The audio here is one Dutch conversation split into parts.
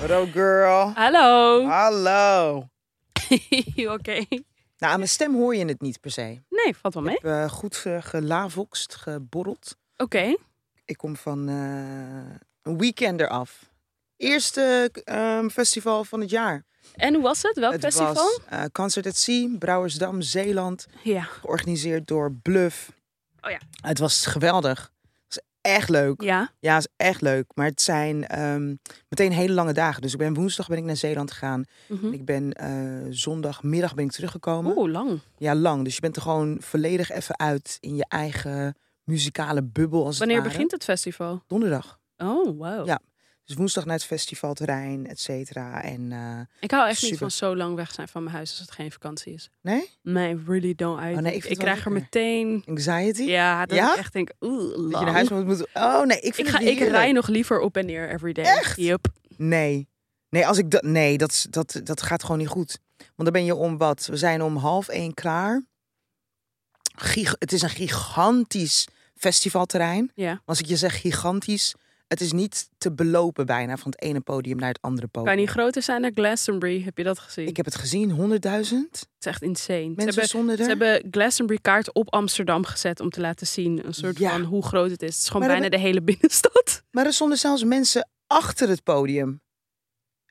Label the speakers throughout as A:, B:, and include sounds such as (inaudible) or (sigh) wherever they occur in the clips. A: Hello, girl.
B: Hallo.
A: Hallo.
B: (laughs) Oké.
A: Nou, aan mijn stem hoor je het niet per se. Ik
B: Nee, valt wel mee.
A: heb eh, goed eh, gelavokst, geborreld.
B: Oké.
A: Ik kom van eh, een weekend eraf. Eerste eh, festival van het jaar.
B: En hoe was het? Welk
A: het
B: festival?
A: was eh, Concert at Sea, Brouwersdam, Zeeland.
B: Ja.
A: Georganiseerd door Bluff.
B: Oh ja.
A: Het was geweldig. Het was echt leuk.
B: Ja.
A: Ja, het is echt leuk. Maar het zijn ehm, meteen hele lange dagen. Dus ik ben woensdag ben ik naar Zeeland gegaan.
B: Mhm.
A: Ik ben eh, zondagmiddag ben ik teruggekomen.
B: Oeh, lang.
A: Ja, lang. Dus je bent er gewoon volledig even uit in je eigen muzikale bubbel. Als
B: Wanneer
A: het ware.
B: begint het festival?
A: Donderdag.
B: Oh, wow.
A: Ja. Dus woensdag naar het festivalterrein, et cetera. En eh,
B: Ik hou echt niet
A: Super.
B: van zo lang weg zijn van mijn huis als het geen vakantie is.
A: nee,
B: Nee, really don't. I
A: Oh, nee, ik vind
B: ik
A: het wel
B: krijg
A: lekker.
B: er meteen...
A: anxiety.
B: Ja, dat
A: Ja?
B: ik echt denk, oeh,
A: Dat
B: lang.
A: je naar huis moet. moet- Oh nee, ik
B: ik,
A: vind
B: ga,
A: het
B: ik
A: heerlijk.
B: rij nog liever op en neer every day.
A: Echt? Oh.
B: Yep.
A: Nee. Nee, als ik dat. Nee, dat, is- dat, dat gaat gewoon niet goed. Want dan ben je om wat? We zijn om half één klaar. Gig- het is een gigantisch festivalterrein.
B: Ja.
A: Als ik je zeg gigantisch, het is niet te belopen bijna van het ene podium naar het andere podium.
B: Kan je niet groter zijn dan Glastonbury? Heb je dat gezien?
A: Ik heb het gezien, 100.000 mensen
B: Het is echt insane. Ze hebben,
A: zonder
B: ze hebben Glastonbury kaart op Amsterdam gezet om te laten zien een soort
A: Ja.
B: van hoe groot het is. Het is gewoon
A: Maar
B: bijna de hele (laughs) binnenstad.
A: Maar er stonden zelfs mensen achter het podium.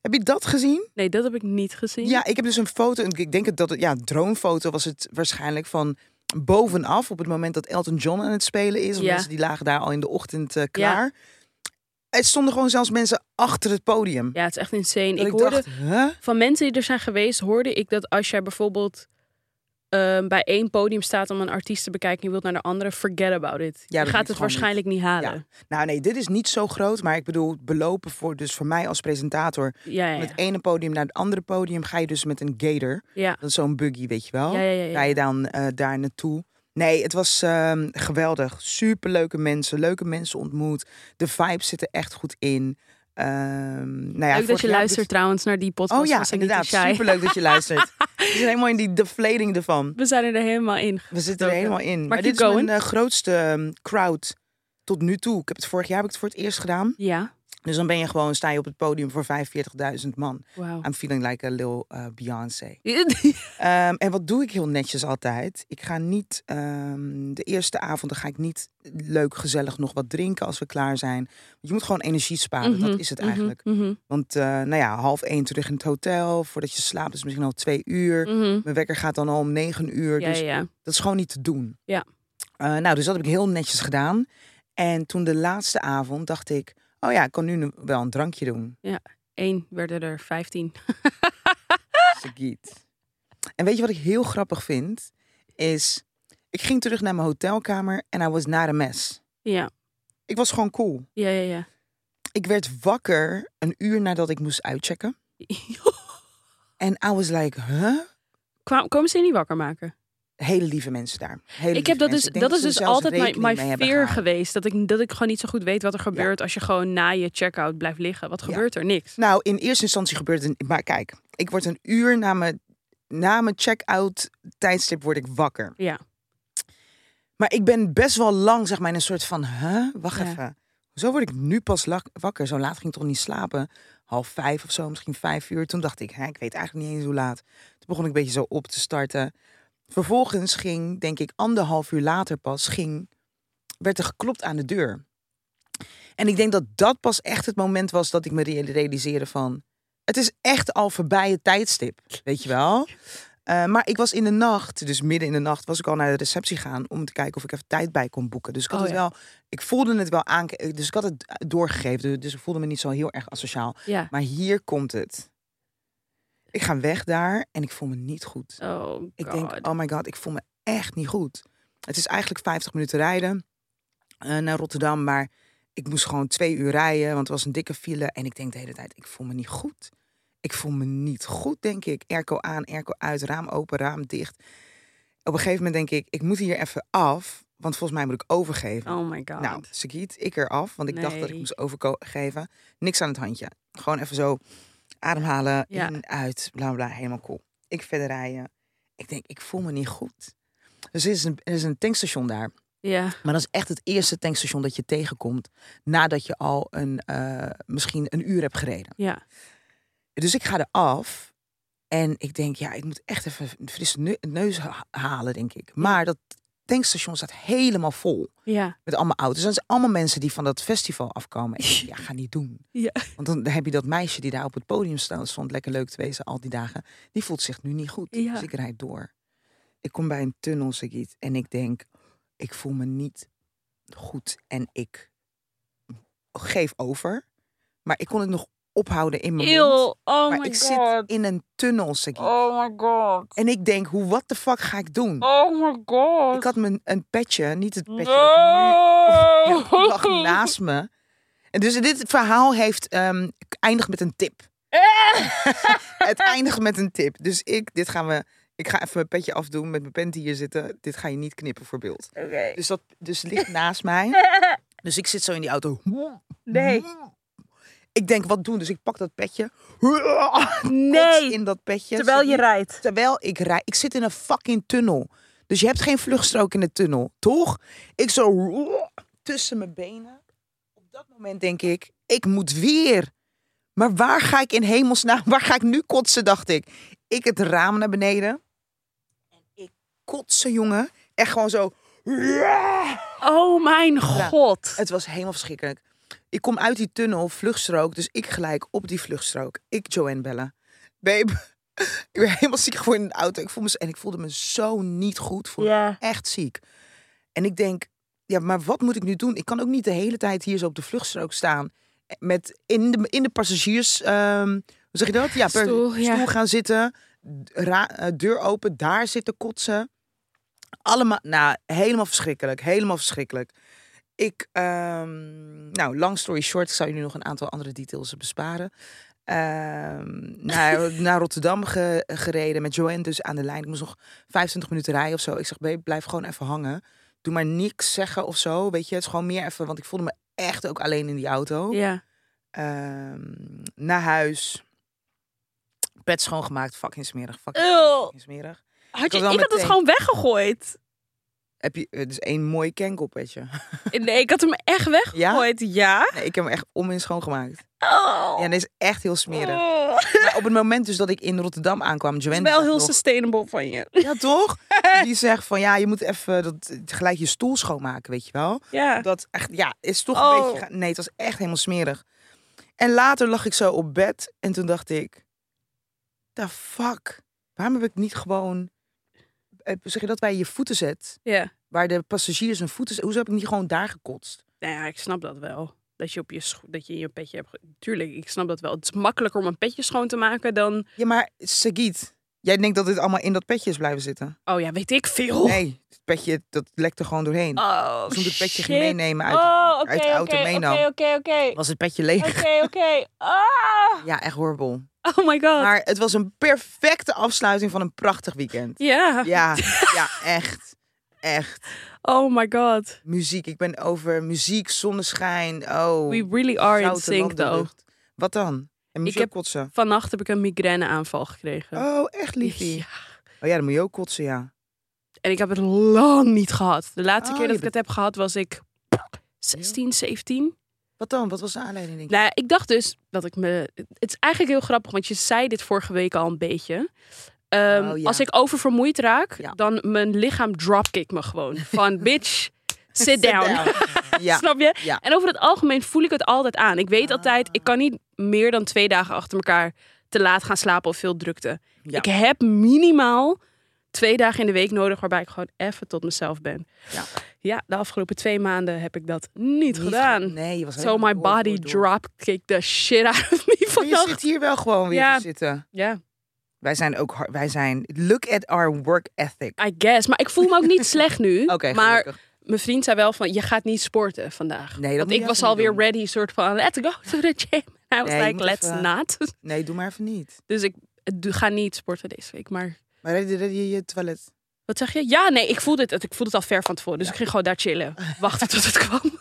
A: Heb je dat gezien?
B: Nee, dat heb ik niet gezien.
A: Ja, ik heb dus een foto. Ik denk dat het, ja, droomfoto was het waarschijnlijk van bovenaf. Op het moment dat Elton John aan het spelen is. Want
B: Ja.
A: mensen die lagen daar al in de ochtend eh, klaar. Er stonden gewoon zelfs mensen achter het podium.
B: Ja, het is echt insane.
A: Dat
B: Ik hoorde
A: dacht, huh?
B: van mensen die er zijn geweest, hoorde ik dat als jij bijvoorbeeld ehm, bij één podium staat om een artiest te bekijken en je wilt naar de andere, forget about it.
A: Ja, dat
B: je
A: doe ik
B: gaat het
A: gewoon
B: waarschijnlijk niet, halen.
A: Nou nee, dit is niet zo groot. Maar ik bedoel, belopen voor, dus voor mij als presentator.
B: Ja, ja,
A: Van
B: ja.
A: het ene podium naar het andere podium ga je dus met een gator.
B: ja.
A: Dat is zo'n buggy, weet je wel.
B: Ja, ja, ja, ja.
A: Ga je dan eh, daar naartoe. Nee, het was ehm, geweldig. Superleuke mensen, leuke mensen ontmoet. De vibes zitten echt goed in. Ehm, nou ja,
B: Leuk dat
A: vorig
B: je
A: jaar-
B: luistert trouwens naar die podcast.
A: Oh ja,
B: van Sanity
A: inderdaad.
B: Shy.
A: Superleuk dat je luistert. We zijn helemaal in die deflating ervan.
B: (laughs) We zijn er helemaal in.
A: We zitten er
B: Oké.
A: helemaal in. Maar
B: keep
A: dit is mijn
B: going.
A: eh, grootste ehm, crowd tot nu toe. Ik heb het vorig jaar heb ik het voor het eerst gedaan.
B: Ja,
A: Dus dan ben je gewoon, sta je op het podium voor 45.000 man.
B: wauw.
A: I'm feeling like a little eh, Beyoncé. Ehm, en wat doe ik heel netjes altijd? Ik ga niet ehm, de eerste avond, dan ga ik niet leuk, gezellig nog wat drinken als we klaar zijn. Je moet gewoon energie sparen,
B: (laughs) Mhm,
A: dat is het
B: mhm,
A: eigenlijk.
B: mhm,
A: Want eh, nou ja, half één terug in het hotel, voordat je slaapt is misschien al twee uur.
B: mhm.
A: Mijn wekker gaat dan al om negen uur,
B: Ja,
A: dus
B: ja, ja.
A: dat is gewoon niet te doen.
B: Ja.
A: Eh, nou, dus dat heb ik heel netjes gedaan. En toen de laatste avond dacht ik, oh ja, ik kan nu wel een drankje doen.
B: Eén werden er 15.
A: Sagiet. En weet je wat ik heel grappig vind? Is, ik ging terug naar mijn hotelkamer en I was not a mess.
B: Ja,
A: Ik was gewoon cool.
B: ja, ja, (laughs) ja.
A: Ik werd wakker een uur nadat ik moest uitchecken. En I was like, huh?
B: Kwa- Komen ze je niet wakker maken?
A: Hele lieve mensen daar. Hele
B: ik
A: lieve
B: heb
A: mensen.
B: dat dus,
A: Ik denk
B: dat is
A: ze er
B: dus
A: zelfs
B: altijd mijn,
A: rekening
B: mijn
A: mee hebben
B: fear
A: gehouden.
B: geweest. Dat ik, dat ik gewoon niet zo goed weet wat er gebeurt als je gewoon na je checkout blijft liggen. Wat
A: Ja.
B: gebeurt er? Niks.
A: Nou, in eerste instantie gebeurt het... Maar kijk, ik word een uur na mijn, na mijn check-out tijdstip word ik wakker.
B: Ja.
A: Maar ik ben best wel lang, zeg maar, in een soort van, huh? Wacht
B: Ja.
A: even. Zo word ik nu pas lak- wakker. Zo laat ging ik toch niet slapen? Half vijf of zo, misschien vijf uur. Toen dacht ik, hè, ik weet eigenlijk niet eens hoe laat. Toen begon ik een beetje zo op te starten. Vervolgens ging, denk ik, anderhalf uur later pas, ging, werd er geklopt aan de deur. En ik denk dat dat pas echt het moment was dat ik me real- realiseerde van... Het is echt al voorbij het tijdstip, weet je wel? Eh, maar ik was in de nacht, dus midden in de nacht, was ik al naar de receptie gaan om te kijken of ik even tijd bij kon boeken. Dus ik had
B: Oh,
A: het
B: ja.
A: wel, ik voelde het wel aan, dus ik had het doorgegeven, dus ik voelde me niet zo heel erg asociaal.
B: Ja.
A: Maar hier komt het. Ik ga weg daar en ik voel me niet goed.
B: Oh, God.
A: Ik denk, oh my god, ik voel me echt niet goed. Het is eigenlijk 50 minuten rijden eh, naar Rotterdam, maar ik moest gewoon twee uur rijden, want het was een dikke file. En ik denk de hele tijd, ik voel me niet goed. Ik voel me niet goed, denk ik. Airco aan, airco uit, raam open, raam dicht. Op een gegeven moment denk ik, ik moet hier even af, want volgens mij moet ik overgeven.
B: Oh my god.
A: Nou, Sagiet, ik eraf, want ik dacht dat ik
B: Nee.
A: moest overgeven. Niks aan het handje. Gewoon even zo ademhalen,
B: Ja.
A: in, uit, bla bla, helemaal cool. Ik verder rijden. Ik denk, ik voel me niet goed. Dus er is een, er is een tankstation daar.
B: Ja.
A: Maar dat is echt het eerste tankstation dat je tegenkomt nadat je al een, eh, misschien een uur hebt gereden.
B: Ja.
A: Dus ik ga eraf en ik denk, ja, ik moet echt even een frisse neu- neus ha- halen, denk ik. Maar dat tankstation staat helemaal vol
B: Ja.
A: met allemaal auto's. En dat zijn allemaal mensen die van dat festival afkomen. Ik
B: (laughs)
A: denk, ja, ga niet doen.
B: Ja.
A: Want dan heb je dat meisje die daar op het podium sta- stond, lekker leuk te wezen al die dagen. Die voelt zich nu niet goed.
B: Ja.
A: Dus ik rijd door. Ik kom bij een tunnel, Sagiet, en ik denk, ik voel me niet goed. En ik geef over. Maar ik kon het nog ophouden in mijn mond.
B: Eeuw. Oh
A: maar
B: my
A: ik
B: god.
A: zit in een tunnel, Sagiet.
B: Oh my god.
A: En ik denk, hoe what the fuck ga ik doen?
B: Oh my god.
A: Ik had mijn een petje, niet het petje dat ik nu
B: no.
A: ja,
B: (laughs)
A: lag naast me. En dus dit verhaal heeft, ehm eindigt met een tip.
B: Eh. (laughs)
A: Het eindigt met een tip. Dus ik, dit gaan we, ik ga even mijn petje afdoen met mijn pent hier zitten. Dit ga je niet knippen voor beeld.
B: Oké.
A: Dus dat dus het ligt naast mij.
B: (laughs)
A: Dus ik zit zo in die auto.
B: Nee.
A: Ik denk, wat doen? Dus ik pak dat petje. Kots
B: Nee.
A: In dat petje.
B: Terwijl je rijdt.
A: Terwijl ik rij, ik zit in een fucking tunnel. Dus je hebt geen vluchtstrook in de tunnel, toch? Ik zo tussen mijn benen. Op dat moment denk ik, ik moet weer. Maar waar ga ik in hemelsnaam, waar ga ik nu kotsen, dacht ik. Ik het raam naar beneden. En ik kotsen, jongen. Echt gewoon zo.
B: Oh mijn god.
A: Het was helemaal verschrikkelijk. Ik kom uit die tunnel, vluchtstrook. Dus ik gelijk op die vluchtstrook. Ik Joanne bellen. Babe, (laughs) ik ben helemaal ziek geworden in de auto. Ik voel me, zo- en ik voelde me zo niet goed. Ik voelde me
B: Ja.
A: echt ziek. En ik denk, ja, maar wat moet ik nu doen? Ik kan ook niet de hele tijd hier zo op de vluchtstrook staan. eh, Met in de, in de passagiers, ehm, hoe zeg je dat? Ja, per
B: Stoel, ja.
A: stoel gaan zitten. d- ra- eh, deur open, daar zitten kotsen. Allemaal, nou, helemaal verschrikkelijk. Helemaal verschrikkelijk. Ik, ehm, nou, long story short, ik zou jullie nog een aantal andere details besparen. Ehm, naar, naar Rotterdam ge- gereden met Joanne dus aan de lijn. Ik moest nog 25 minuten rijden of zo. Ik zeg, babe, blijf gewoon even hangen. Doe maar niks zeggen of zo, weet je. Het is gewoon meer even, want ik voelde me echt ook alleen in die auto.
B: Ja.
A: Ehm, naar huis. Pet schoongemaakt, fucking smerig. Fucking,
B: Ew.
A: fucking smerig.
B: Had
A: was
B: je, ik
A: al
B: had het
A: meteen-
B: gewoon weggegooid.
A: Heb je, eh, dus één mooi
B: (laughs)
A: kenkelpetje.
B: Nee, ik had hem echt weggegooid. Ja?
A: Nee, ik heb hem echt om in schoongemaakt.
B: Oh.
A: Ja, dat is echt heel smerig.
B: Oh.
A: Maar op het moment dus dat ik in Rotterdam aankwam, Joanne...
B: Wel
A: zegt
B: heel
A: nog-
B: sustainable van je. (laughs)
A: (laughs) Ja, toch? Die zegt van, ja, je moet even dat, gelijk je stoel schoonmaken, weet je wel.
B: Ja.
A: Dat echt, ja, is toch
B: Ah. Oh.
A: een beetje... ga- Nee, het was echt helemaal smerig. En later lag ik zo op bed en toen dacht ik... The fuck? Waarom heb ik niet gewoon... eh, Zeg je dat bij je voeten zet?
B: Ja.
A: Waar de passagiers hun voeten... zetten, Hoezo heb ik niet gewoon daar gekotst?
B: Nou ja, ik snap dat wel. Dat je, op je, scho- dat je in je petje hebt... ge- Tuurlijk, ik snap dat wel. Het is makkelijker om een petje schoon te maken dan...
A: Ja, maar Sagiet, jij denkt dat dit allemaal in dat petje is blijven zitten?
B: Oh ja, weet ik veel.
A: Nee, het petje, dat lekt er gewoon doorheen.
B: (laughs) Oh,
A: Toen het petje ging
B: shit.
A: meenemen uit,
B: Oh, oké,
A: uit de auto
B: oké,
A: meenam.
B: oké, oké, oké.
A: was het petje leeg.
B: (laughs) Oké, oké. Ah.
A: Ja, echt horrible.
B: Oh my god.
A: Maar het was een perfecte afsluiting van een prachtig weekend.
B: Ja. (laughs)
A: Ja, ja, echt. Echt.
B: Oh my god.
A: Muziek. Ik ben over muziek, zonneschijn. Oh,
B: We really are in
A: zoute dus.
B: sync though.
A: landenlucht. Wat dan? En moet
B: Ik
A: je ook
B: heb-
A: kotsen?
B: Vannacht heb ik een migraineaanval gekregen.
A: Oh, echt liefie.
B: Ja.
A: Oh ja, dan moet je ook kotsen, ja.
B: En ik heb het lang niet gehad. De laatste
A: Oh, je
B: keer dat ik het heb gehad was ik 16, 17.
A: Wat dan? Wat was de aanleiding? Denk je?
B: Nou, ja, ik dacht dus dat ik me. Het is eigenlijk heel grappig, want je zei dit vorige week al een beetje. Ehm,
A: Oh, ja.
B: Als ik oververmoeid raak,
A: Ja.
B: dan mijn lichaam dropkick me gewoon.
A: (laughs)
B: Van bitch, Nou, sit down. (laughs)
A: Ja,
B: Snap je?
A: Ja. Ah.
B: En over het algemeen voel ik het altijd aan. Ik weet altijd, ik kan niet meer dan twee dagen achter elkaar te laat gaan slapen of veel drukte.
A: Ja.
B: Ik heb minimaal twee dagen in de week nodig waarbij ik gewoon even tot mezelf ben.
A: Ja.
B: Ja, de afgelopen twee maanden heb ik dat niet,
A: Niet
B: gedaan.
A: ge- Nee, je was
B: So my body
A: dropped.
B: dropkicked the shit out of me
A: Je
B: vannacht.
A: zit hier wel gewoon weer
B: Ja.
A: te zitten.
B: Ja,
A: Wij zijn ook hard. Wij zijn. Look at our work ethic.
B: I guess. Maar ik voel me ook
A: (laughs)
B: niet slecht nu.
A: Oké,
B: maar
A: gelukkig.
B: mijn vriend zei wel van, je gaat niet sporten vandaag.
A: Nee, dat
B: Want
A: moet je
B: ik
A: echt
B: was
A: niet
B: alweer
A: doen.
B: ready, soort van, let's go to the gym. En hij was
A: Nee, je
B: like,
A: moet
B: let's
A: even-
B: not.
A: Nee, doe maar even niet.
B: Dus ik doe- ga niet sporten deze week. Maar
A: Maar red je, red je je toilet?
B: wat zeg je? Ja, nee, ik voelde het, ik voelde het al ver van tevoren. Dus ik ging gewoon daar
A: (laughs)
B: chillen. Wachten tot het kwam. (laughs)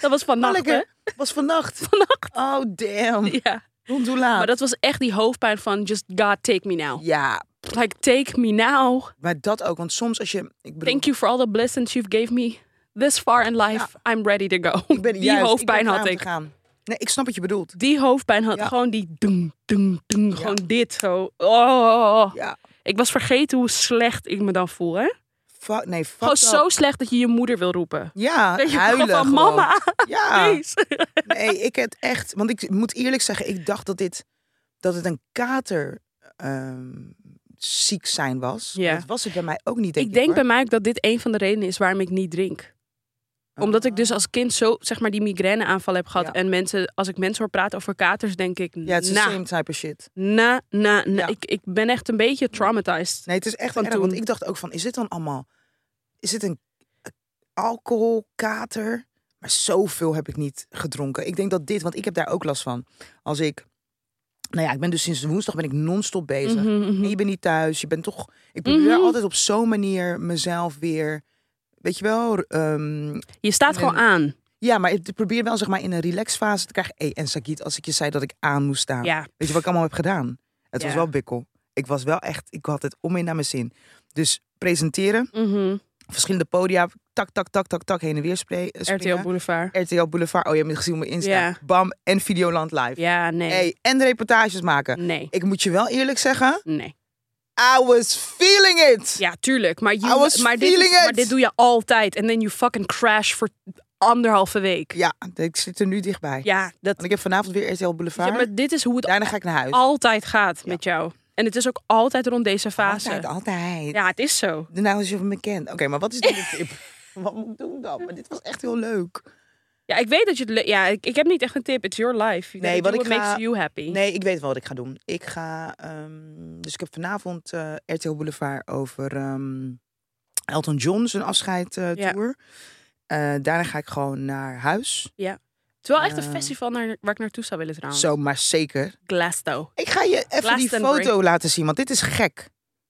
B: dat was vannacht, hè?
A: Lekker. Was vannacht.
B: Vannacht. (laughs)
A: Oh, damn.
B: Ja.
A: Hoe hoe laat?
B: Maar dat was echt die hoofdpijn van, just God, take me now.
A: Ja,
B: Like, take me now.
A: Maar dat ook, want soms als je... Ik bedoel,
B: Thank you for all the blessings you've gave me this far in life. I'm ready to go.
A: ik ben
B: die
A: juist- ik ben
B: hoofdpijn
A: klaar
B: had
A: om te
B: ik.
A: gaan. Nee, ik snap wat je bedoelt.
B: Die hoofdpijn had
A: Ja.
B: gewoon die dung, dung, dung.
A: Ja.
B: Gewoon dit zo. Oh.
A: Ja.
B: Ik was vergeten hoe slecht ik me dan voel, hè?
A: Fuck, nee, fuck
B: Gewoon
A: up.
B: zo slecht dat je je moeder wil roepen.
A: Ja,
B: Dat je
A: huilen
B: gewoon van
A: gewoon.
B: mama, (laughs)
A: Ja.
B: please.
A: Nee, ik het echt. Want ik moet eerlijk zeggen, ik dacht dat dit dat het een kater ehm, ziek zijn was.
B: Ja.
A: Dat was het bij mij ook niet. Denk ik
B: Ik denk
A: hoor.
B: bij mij ook dat dit een van de redenen is waarom ik niet drink. Omdat ik dus als kind zo, zeg maar, die migraineaanval heb gehad.
A: Oh. Ja.
B: En mensen, als ik mensen hoor praten over katers, denk ik,
A: ja, het is
B: na,
A: the same type of shit.
B: na, na, na.
A: Ja.
B: Ik, ik ben echt een beetje traumatized.
A: Nee, het is echt
B: Van
A: van erg, want
B: toen.
A: ik dacht ook van, is dit dan allemaal? Is dit een eh, alcoholkater? Maar zoveel heb ik niet gedronken. Ik denk dat dit, want ik heb daar ook last van. Als ik, nou ja, ik ben dus sinds woensdag ben ik non-stop bezig.
B: Mhm, mhm.
A: En je bent niet thuis. Je bent toch. Ik probeer
B: Mhm.
A: altijd op zo'n manier mezelf weer. Weet je wel? ehm,
B: Je staat gewoon
A: En-
B: aan.
A: ja, maar ik probeer wel zeg maar in een relaxfase te krijgen. Hey, en Sagit, als ik je zei dat ik aan moest staan.
B: Ja.
A: Weet je wat ik allemaal heb gedaan? Het was
B: Ja.
A: wel bikkel. Ik was wel echt. Ik had het om in naar mijn zin. Dus presenteren,
B: Mhm.
A: verschillende podia, tak, tak, tak, tak, tak, heen en weer spre- eh,
B: RTL
A: springen.
B: Boulevard.
A: RTL Boulevard. Oh, je hebt me gezien op mijn Insta.
B: Ja.
A: Bam, en Videoland live.
B: Ja, nee.
A: Hey, en reportages maken.
B: Nee.
A: Ik moet je wel eerlijk zeggen,
B: Nee.
A: I was feeling it.
B: Ja, tuurlijk. Maar,
A: I
B: you,
A: was
B: maar, dit,
A: feeling
B: is- maar
A: it.
B: dit doe je altijd. En then you fucking crash voor anderhalve week.
A: Ja, ik zit er nu dichtbij.
B: Ja, dat,
A: Want ik heb vanavond weer RTL
B: ja,
A: Boulevard.
B: maar Oh, dit is hoe het
A: Daarna ga ik naar huis.
B: altijd gaat met jou. En het is ook altijd rond deze fase.
A: Altijd, altijd.
B: Ja, het is zo.
A: Daarna is je van me kent. Oké, maar wat is dan
B: (laughs)
A: de tip? wat moet ik doen dan? Maar dit was echt heel leuk.
B: Ja, ik weet dat je het... le- Ja, ik, ik heb niet echt een tip. It's your life. You
A: Nee,
B: gotta
A: wat
B: do
A: ik
B: what
A: ga-
B: makes you happy.
A: Nee, ik weet wel wat ik ga doen. Ik ga... ehm, dus ik heb vanavond eh, RTL Boulevard over ehm, Elton John zijn afscheid eh,
B: Ja.
A: tour. Eh, daarna ga ik gewoon naar huis.
B: Terwijl echt een
A: Eh.
B: festival naar, waar ik naartoe zou willen trouwens.
A: Zo, maar zeker.
B: Glasgow.
A: Ik ga je even die
B: Glastonbury.
A: foto laten zien, want dit is gek.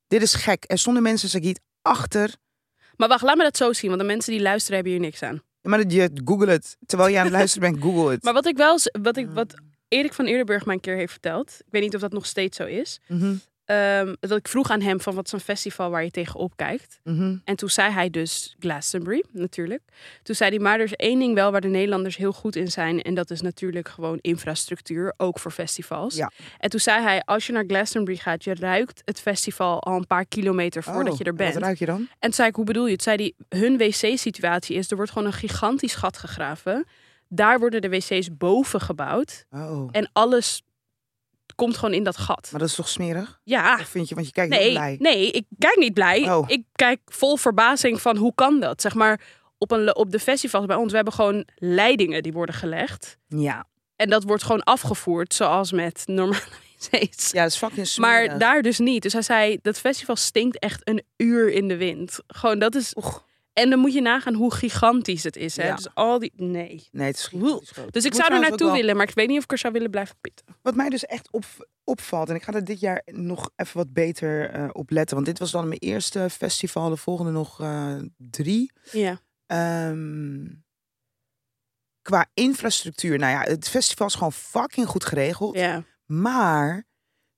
A: Dit is gek. Er stonden mensen, Sagiet, achter
B: Maar wacht, laat me dat zo zien. Want de mensen die luisteren hebben hier niks aan.
A: Ja, Maar dat je google het. Terwijl je aan het luisteren bent, google het.
B: (laughs) Maar wat ik wel... z- Wat,
A: Ah.
B: ik, wat Erik van Eerdenburg mij een keer heeft verteld. Ik weet niet of dat nog steeds zo is.
A: Mhm,
B: Ehm, dat ik vroeg aan hem van wat is een festival waar je tegenop kijkt.
A: mhm.
B: En toen zei hij dus Glastonbury, natuurlijk. Toen zei hij, maar er is één ding wel waar de Nederlanders heel goed in zijn. En dat is natuurlijk gewoon infrastructuur, ook voor festivals.
A: Ja.
B: En toen zei hij, als je naar Glastonbury gaat, je ruikt het festival al een paar kilometer voordat
A: Oh,
B: je er
A: en
B: bent.
A: Wat ruik je dan?
B: En toen zei ik, hoe bedoel je het? Zei die, hun wc-situatie is, er wordt gewoon een gigantisch gat gegraven. Daar worden de wc's boven gebouwd.
A: Oh.
B: En alles komt gewoon in dat gat.
A: Maar dat is toch smerig?
B: Ja,
A: Of vind je, want je kijkt heel
B: Ah. Nee,
A: blij.
B: nee, ik kijk niet blij.
A: Oh.
B: Ik kijk vol verbazing van hoe kan dat? Zeg maar, op, een, op de festivals bij ons, we hebben gewoon leidingen die worden gelegd.
A: Ja.
B: En dat wordt gewoon afgevoerd, zoals met normale (laughs) wc's.
A: Ja, dat is fucking smerig.
B: maar daar dus niet. Dus hij zei, dat festival stinkt echt een uur in de wind. Gewoon, dat is...
A: Oeg.
B: En dan moet je nagaan hoe gigantisch het is. Hè?
A: Ja.
B: Dus al die... Nee.
A: Nee, het is
B: Woe.
A: gigantisch groot.
B: Dus ik
A: moet
B: zou er
A: trouwens ook
B: naartoe
A: wel-
B: willen, maar ik weet niet of ik er zou willen blijven pitten.
A: Wat mij dus echt op, opvalt, en ik ga er dit jaar nog even wat beter eh, op letten. Want dit was dan mijn eerste festival, de volgende nog eh, drie.
B: Ja.
A: Ehm, qua infrastructuur, nou ja, het festival is gewoon fucking goed geregeld.
B: ja.
A: Maar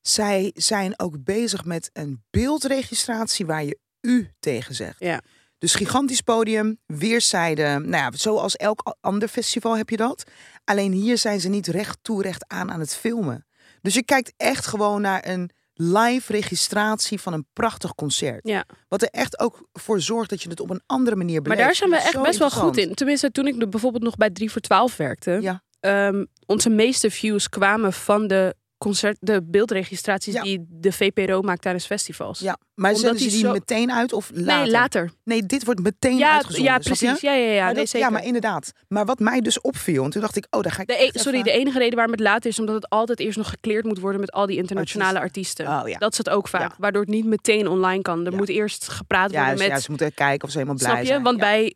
A: zij zijn ook bezig met een beeldregistratie waar je u tegen zegt.
B: Ja.
A: Dus gigantisch podium, weerszijden. Nou ja, zoals elk a- ander festival heb je dat. Alleen hier zijn ze niet recht toe, recht aan aan het filmen. Dus je kijkt echt gewoon naar een live registratie van een prachtig concert.
B: Ja.
A: Wat er echt ook voor zorgt dat je het op een andere manier
B: Maar
A: beleeft.
B: daar zijn we
A: Dat is
B: echt
A: zo
B: best wel goed
A: interessant.
B: in. Tenminste, toen ik bijvoorbeeld nog bij 3 voor 12 werkte,
A: Ja.
B: ehm, onze meeste views kwamen van de, concert, de beeldregistraties
A: Ja.
B: die de VPRO maakt tijdens festivals.
A: Ja, maar
B: Omdat
A: zetten ze
B: die
A: die
B: zo-
A: meteen uit of later?
B: Nee, later.
A: Nee, dit wordt meteen
B: Ja,
A: uitgezonden.
B: ja,
A: snap je?
B: precies. Ja, ja, ja.
A: Maar
B: nee,
A: dat-
B: zeker.
A: Ja, maar inderdaad. Maar wat mij dus opviel, en toen dacht ik, oh, daar ga ik.
B: de e-
A: echt
B: sorry, de
A: even-
B: enige reden waarom het later is, omdat het altijd eerst nog gekleerd moet worden met al die internationale artiesten.
A: Oh ja.
B: Dat is het ook vaak.
A: Ja.
B: Waardoor het niet meteen online kan. Er
A: Ja.
B: moet eerst gepraat
A: Ja,
B: worden
A: ze,
B: met.
A: ja, ze moeten kijken of ze helemaal blij
B: snap je?
A: zijn.
B: Want
A: Ja.
B: bij.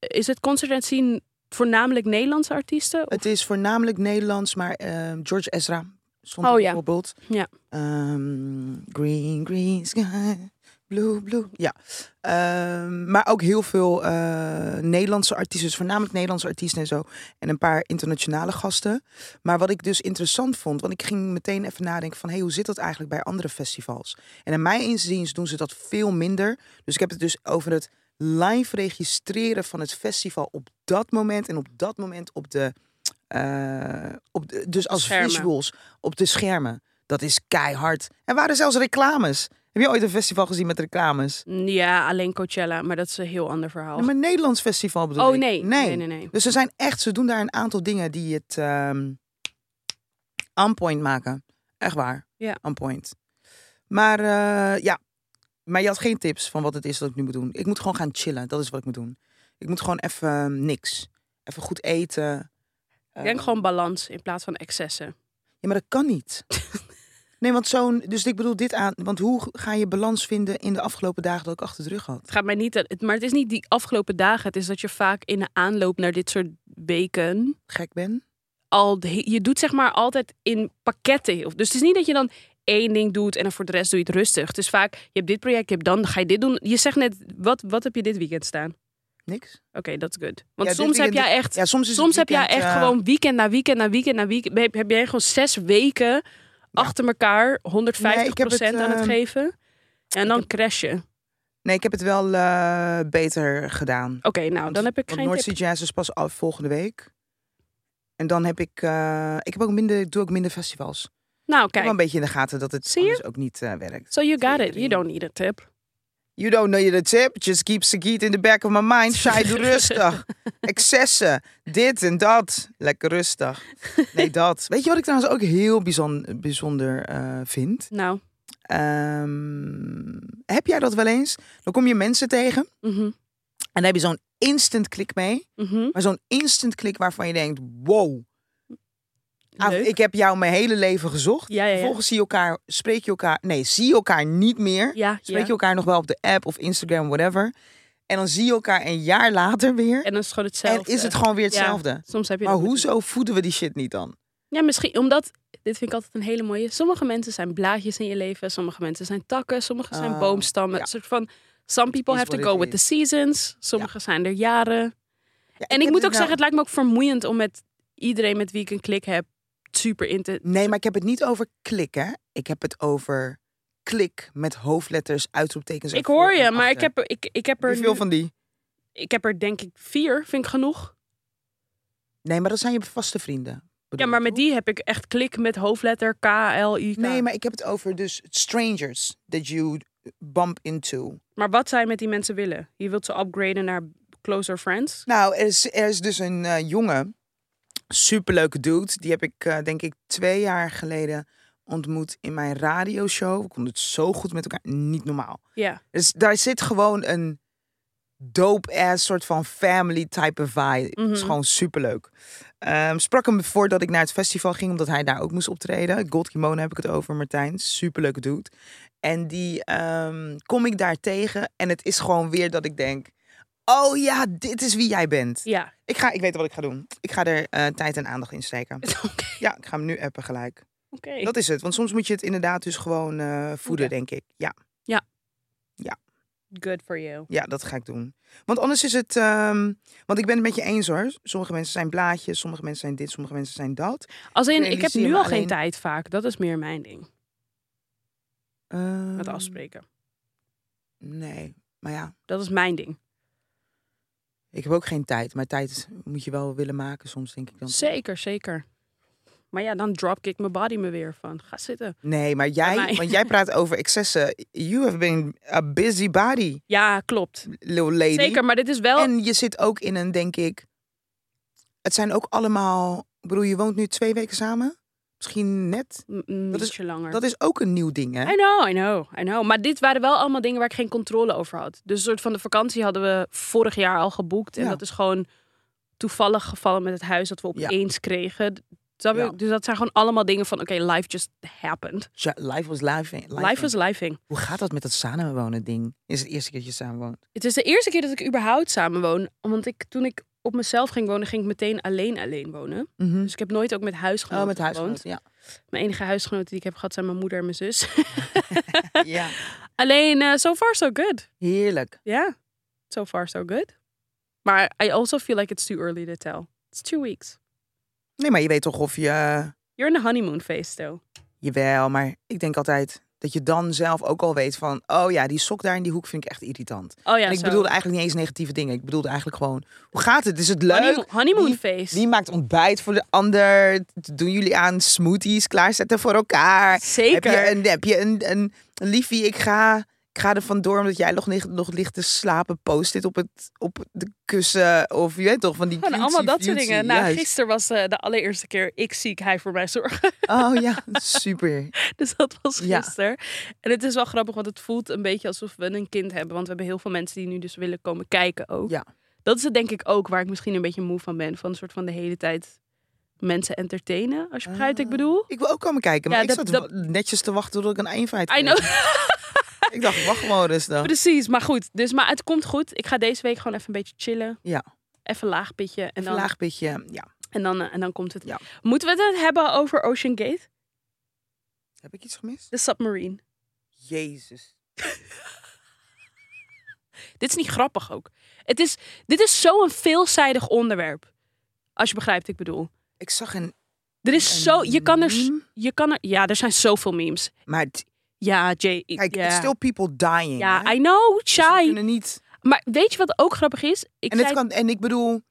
B: Is het concert en zien voornamelijk Nederlandse artiesten?
A: Het is voornamelijk Nederlands, maar eh, George Ezra stond er
B: Oh ja.
A: bijvoorbeeld.
B: Ja.
A: Ehm, green, green sky. Blue, blue. Ja. Ehm, maar ook heel veel eh, Nederlandse artiesten, dus voornamelijk Nederlandse artiesten en zo. En een paar internationale gasten. Maar wat ik dus interessant vond, want ik ging meteen even nadenken van... hé, hoe zit dat eigenlijk bij andere festivals? En in mijn inziens doen ze dat veel minder. Dus ik heb het dus over het live registreren van het festival op dat moment. En op dat moment op de... eh, op de dus als
B: Schermen.
A: visuals op de schermen. Dat is keihard. Er waren zelfs reclames. Heb je ooit een festival gezien met reclames?
B: Ja, alleen Coachella, maar dat is een heel ander verhaal.
A: Nee, maar een Nederlands festival bedoel
B: oh
A: ik.
B: nee. Nee. nee, nee, nee.
A: Dus ze zijn echt, ze doen daar een aantal dingen die het ehm on point maken. Echt waar.
B: Ja.
A: On point. Maar eh, ja, maar je had geen tips van wat het is dat ik nu moet doen. Ik moet gewoon gaan chillen. Dat is wat ik moet doen. Ik moet gewoon even ehm, niks. Even goed eten.
B: Ik denk
A: Eh,
B: gewoon balans in plaats van excessen.
A: Ja, maar dat kan
B: (laughs)
A: niet. Nee, want zo'n. Dus ik bedoel dit aan. Want hoe ga je balans vinden in de afgelopen dagen dat ik achter de rug had?
B: Het gaat mij niet, dat- het- maar het is niet die afgelopen dagen. Het is dat je vaak in de aanloop naar dit soort weken
A: Gek ben.
B: al de he- je doet zeg maar altijd in pakketten heel. Dus het is niet dat je dan één ding doet en dan voor de rest doe je het rustig. Het is vaak je hebt dit project, je hebt dan ga je dit doen. Je zegt net wat wat heb je dit weekend staan? Oké,
A: Niks.
B: dat is good. Want
A: Ja, dit
B: soms heb
A: weekend-
B: jij echt
A: Ja, soms is het
B: soms heb jij
A: weekend,
B: echt
A: eh,
B: gewoon weekend na weekend na weekend na weekend heb, heb jij gewoon zes weken achter elkaar 150%
A: Nee, ik heb het,
B: aan het
A: ehm,
B: geven. En dan crash je. Oké,
A: Nee, ik heb het wel eh, beter gedaan.
B: nou, dan heb ik
A: Want
B: geen
A: North
B: tip.
A: Sea Jazz is pas af volgende week. En dan heb ik. eh, ik heb ook minder, doe ook minder festivals.
B: Nou,
A: Ik heb wel
B: kijk.
A: een beetje in de gaten dat het
B: Zie je?
A: anders ook niet eh, werkt.
B: So you got it. You
A: Tering.
B: don't need a tip.
A: You don't know the tip. Just keep Sagiet in the back of my
B: (laughs)
A: mind. Shy, doe rustig. Excessen. Dit en dat. Lekker rustig. Nee, dat. Weet je wat ik trouwens ook heel bijzonder, bijzonder eh, vind?
B: Nou.
A: Ehm, heb jij dat wel eens? Dan kom je mensen tegen
B: mhm,
A: en dan heb je zo'n instant klik mee.
B: mhm.
A: Maar zo'n instant klik waarvan je denkt, wow. Ah,
B: Leuk.
A: Ik heb jou mijn hele leven gezocht.
B: Ja, ja, ja.
A: Vervolgens zie je elkaar, spreek je elkaar... Nee, zie je elkaar niet meer.
B: Ja,
A: Spreek
B: ja.
A: je elkaar nog wel op de app of Instagram, whatever. En dan zie je elkaar een jaar later weer.
B: En dan is het gewoon hetzelfde.
A: En is het gewoon weer
B: Ja,
A: hetzelfde.
B: Soms heb je
A: Maar
B: dat met-
A: hoezo voeden we die shit niet dan?
B: Ja, misschien omdat... Dit vind ik altijd een hele mooie. Sommige mensen zijn blaadjes in je leven. Sommige mensen zijn takken. Sommige zijn
A: Ah,
B: boomstammen.
A: ja.
B: Een soort van... Some people
A: is
B: have to
A: what it
B: go with the
A: is.
B: seasons. Sommige zijn er
A: Ja,
B: jaren. En
A: heb
B: ik
A: dit
B: moet ook
A: nou-
B: zeggen, het lijkt me ook vermoeiend om met iedereen met wie ik een klik heb super in te.
A: Nee, maar ik heb het niet over klikken. Ik heb het over klik met hoofdletters, uitroeptekens. en
B: Ik hoor
A: voor-
B: je,
A: en
B: maar ik
A: achter.
B: heb er, ik, ik heb er,
A: Heb je veel
B: nu-
A: van die?
B: ik heb er denk ik vier, vind ik genoeg.
A: Nee, maar dat zijn je vaste vrienden.
B: Ja,
A: bedoel
B: maar
A: je,
B: met
A: toch?
B: die heb ik echt klik met hoofdletter K, L, I, K.
A: Nee, maar ik heb het over dus strangers that you bump into.
B: Maar wat zij met die mensen willen. Je wilt ze upgraden naar closer friends.
A: Nou, er is, er is dus een eh, jongen, superleuke dude. Die heb ik, eh, denk ik, twee jaar geleden ontmoet in mijn radioshow. We konden het zo goed met elkaar, niet normaal.
B: Ja.
A: Dus daar zit gewoon een dope-ass soort van family type vibe. Het is
B: Mhm.
A: gewoon superleuk. Ehm sprak hem voordat ik naar het festival ging, omdat hij daar ook moest optreden. Gold Kimono heb ik het over, Martijn. Superleuke dude. En die ehm, kom ik daar tegen en het is gewoon weer dat ik denk... Oh ja, dit is wie jij bent.
B: Ja. (laughs)
A: Ik, ga, ik weet wat ik ga doen. Ik ga er eh, tijd en aandacht in
B: (laughs)
A: steken.
B: Oké.
A: Ja, ik ga hem nu appen gelijk.
B: Oké.
A: Dat is het, want soms moet je het inderdaad dus gewoon eh, voeden, denk ik. Ja.
B: Good for you.
A: Ja, dat ga ik doen. Want anders is het. ehm, want ik ben het met je eens hoor. Sommige mensen zijn blaadjes, sommige mensen zijn dit, sommige mensen zijn dat.
B: Als in, ik heb
A: realiseer
B: nu
A: me
B: al geen
A: alleen-
B: tijd vaak. Dat is meer mijn ding.
A: Ehm,
B: Met afspreken.
A: Nee, maar ja,
B: Dat is mijn ding.
A: ik heb ook geen tijd. Maar tijd moet je wel willen maken soms, denk ik dan.
B: Zeker, zeker. Maar ja, dan dropkick mijn body me weer van. Ga zitten.
A: Nee, maar
B: Bij mij.
A: jij, want jij praat over excessen. You have been a busybody,
B: Ja, klopt.
A: little lady.
B: Zeker, maar dit is wel.
A: En je zit ook in een, denk ik. Het zijn ook allemaal. Ik bedoel, je woont nu twee weken samen. Misschien net.
B: M- m-
A: dat is-
B: ietsje langer.
A: Dat is ook een nieuw ding, hè?
B: I know, I know, I know. Maar dit waren wel allemaal dingen waar ik geen controle over had. Dus een soort van de vakantie hadden we vorig jaar al geboekt. En
A: Ja.
B: dat is gewoon toevallig gevallen met het huis dat we
A: Ja.
B: opeens kregen. Dat
A: Ja.
B: Dus dat zijn gewoon allemaal dingen van, oké, life just happened.
A: Ja, Life was life.
B: Life, is living.
A: Hoe gaat dat met dat samenwonen ding? Is het eerste keer dat je samenwoont?
B: Het is de eerste keer dat ik überhaupt samenwoon. Want ik, toen ik op mezelf ging wonen, ging ik meteen alleen alleen wonen.
A: Mhm.
B: Dus ik heb nooit ook met huisgenoten
A: Oh, met
B: gewoond.
A: huisgenoten, ja. (laughs)
B: Mijn enige huisgenoten die ik heb gehad zijn mijn moeder en mijn zus.
A: ja.
B: Eh, Alleen, eh, so far so good.
A: Heerlijk.
B: Ja, yeah. so far so good. Maar I also feel like it's too early to tell. It's two weeks.
A: Nee, maar je weet toch of je...
B: You're in the honeymoon phase still.
A: Jawel, maar ik denk altijd dat je dan zelf ook al weet van... Oh ja, die sok daar in die hoek vind ik echt irritant.
B: Oh ja,
A: en ik eh,
B: zo.
A: bedoelde eigenlijk niet eens negatieve dingen. Ik bedoelde eigenlijk gewoon... Hoe gaat het? Is het
B: honeymoon,
A: leuk?
B: honeymoon
A: Die-
B: phase.
A: Die maakt ontbijt voor de ander. Doen jullie aan smoothies klaarzetten voor elkaar.
B: Zeker.
A: Heb je een, heb je een, een, een liefie, ik ga, ik ga er vandoor omdat jij nog, lig- nog ligt te slapen. Post dit op, het, op de kussen. Of je weet toch, van die
B: Gewoon
A: cutesy
B: allemaal dat soort
A: futesy.
B: dingen. Nou,
A: Juist.
B: gisteren was eh, de allereerste keer ik ziek, hij voor mij zorgen. (laughs)
A: Oh ja, super.
B: Dus dat was
A: Ja.
B: gisteren. En het is wel grappig, want het voelt een beetje alsof we een kind hebben. Want we hebben heel veel mensen die nu dus willen komen kijken ook.
A: Ja.
B: Dat is het denk ik ook waar ik misschien een beetje moe van ben. Van een soort van de hele tijd mensen entertainen, als je begrijpt
A: Ah.
B: wat ik bedoel.
A: Ik wil ook komen kijken, maar
B: Ja,
A: ik
B: dat-
A: zat netjes te wachten tot ik een eenheid
B: I know,
A: Ik dacht, wacht gewoon rustig.
B: precies. Maar goed, dus, maar het komt goed. Ik ga deze week gewoon even een beetje chillen.
A: Ja.
B: Even laag pitje. En dan,
A: Vandaag beetje, ja.
B: en dan, eh, en dan komt het.
A: Ja.
B: Moeten we het hebben over Ocean Gate?
A: Heb ik iets gemist?
B: De submarine.
A: Jezus.
B: Dit is niet grappig ook. Het is, dit is zo'n veelzijdig onderwerp. Als je begrijpt, ik bedoel.
A: Ik zag een...
B: Er is zo, je kan er, s-
A: meme,
B: je kan er, ja, er zijn zoveel memes.
A: Maar het-
B: Ja, Jay. ik-
A: kijk,
B: ja.
A: still people dying. hè?
B: Ja, I know,
A: Dus we
B: Chai.
A: kunnen niet...
B: Maar weet je wat ook grappig is? Ik
A: En,
B: zei,
A: het kan, en ik bedoel,
B: nee,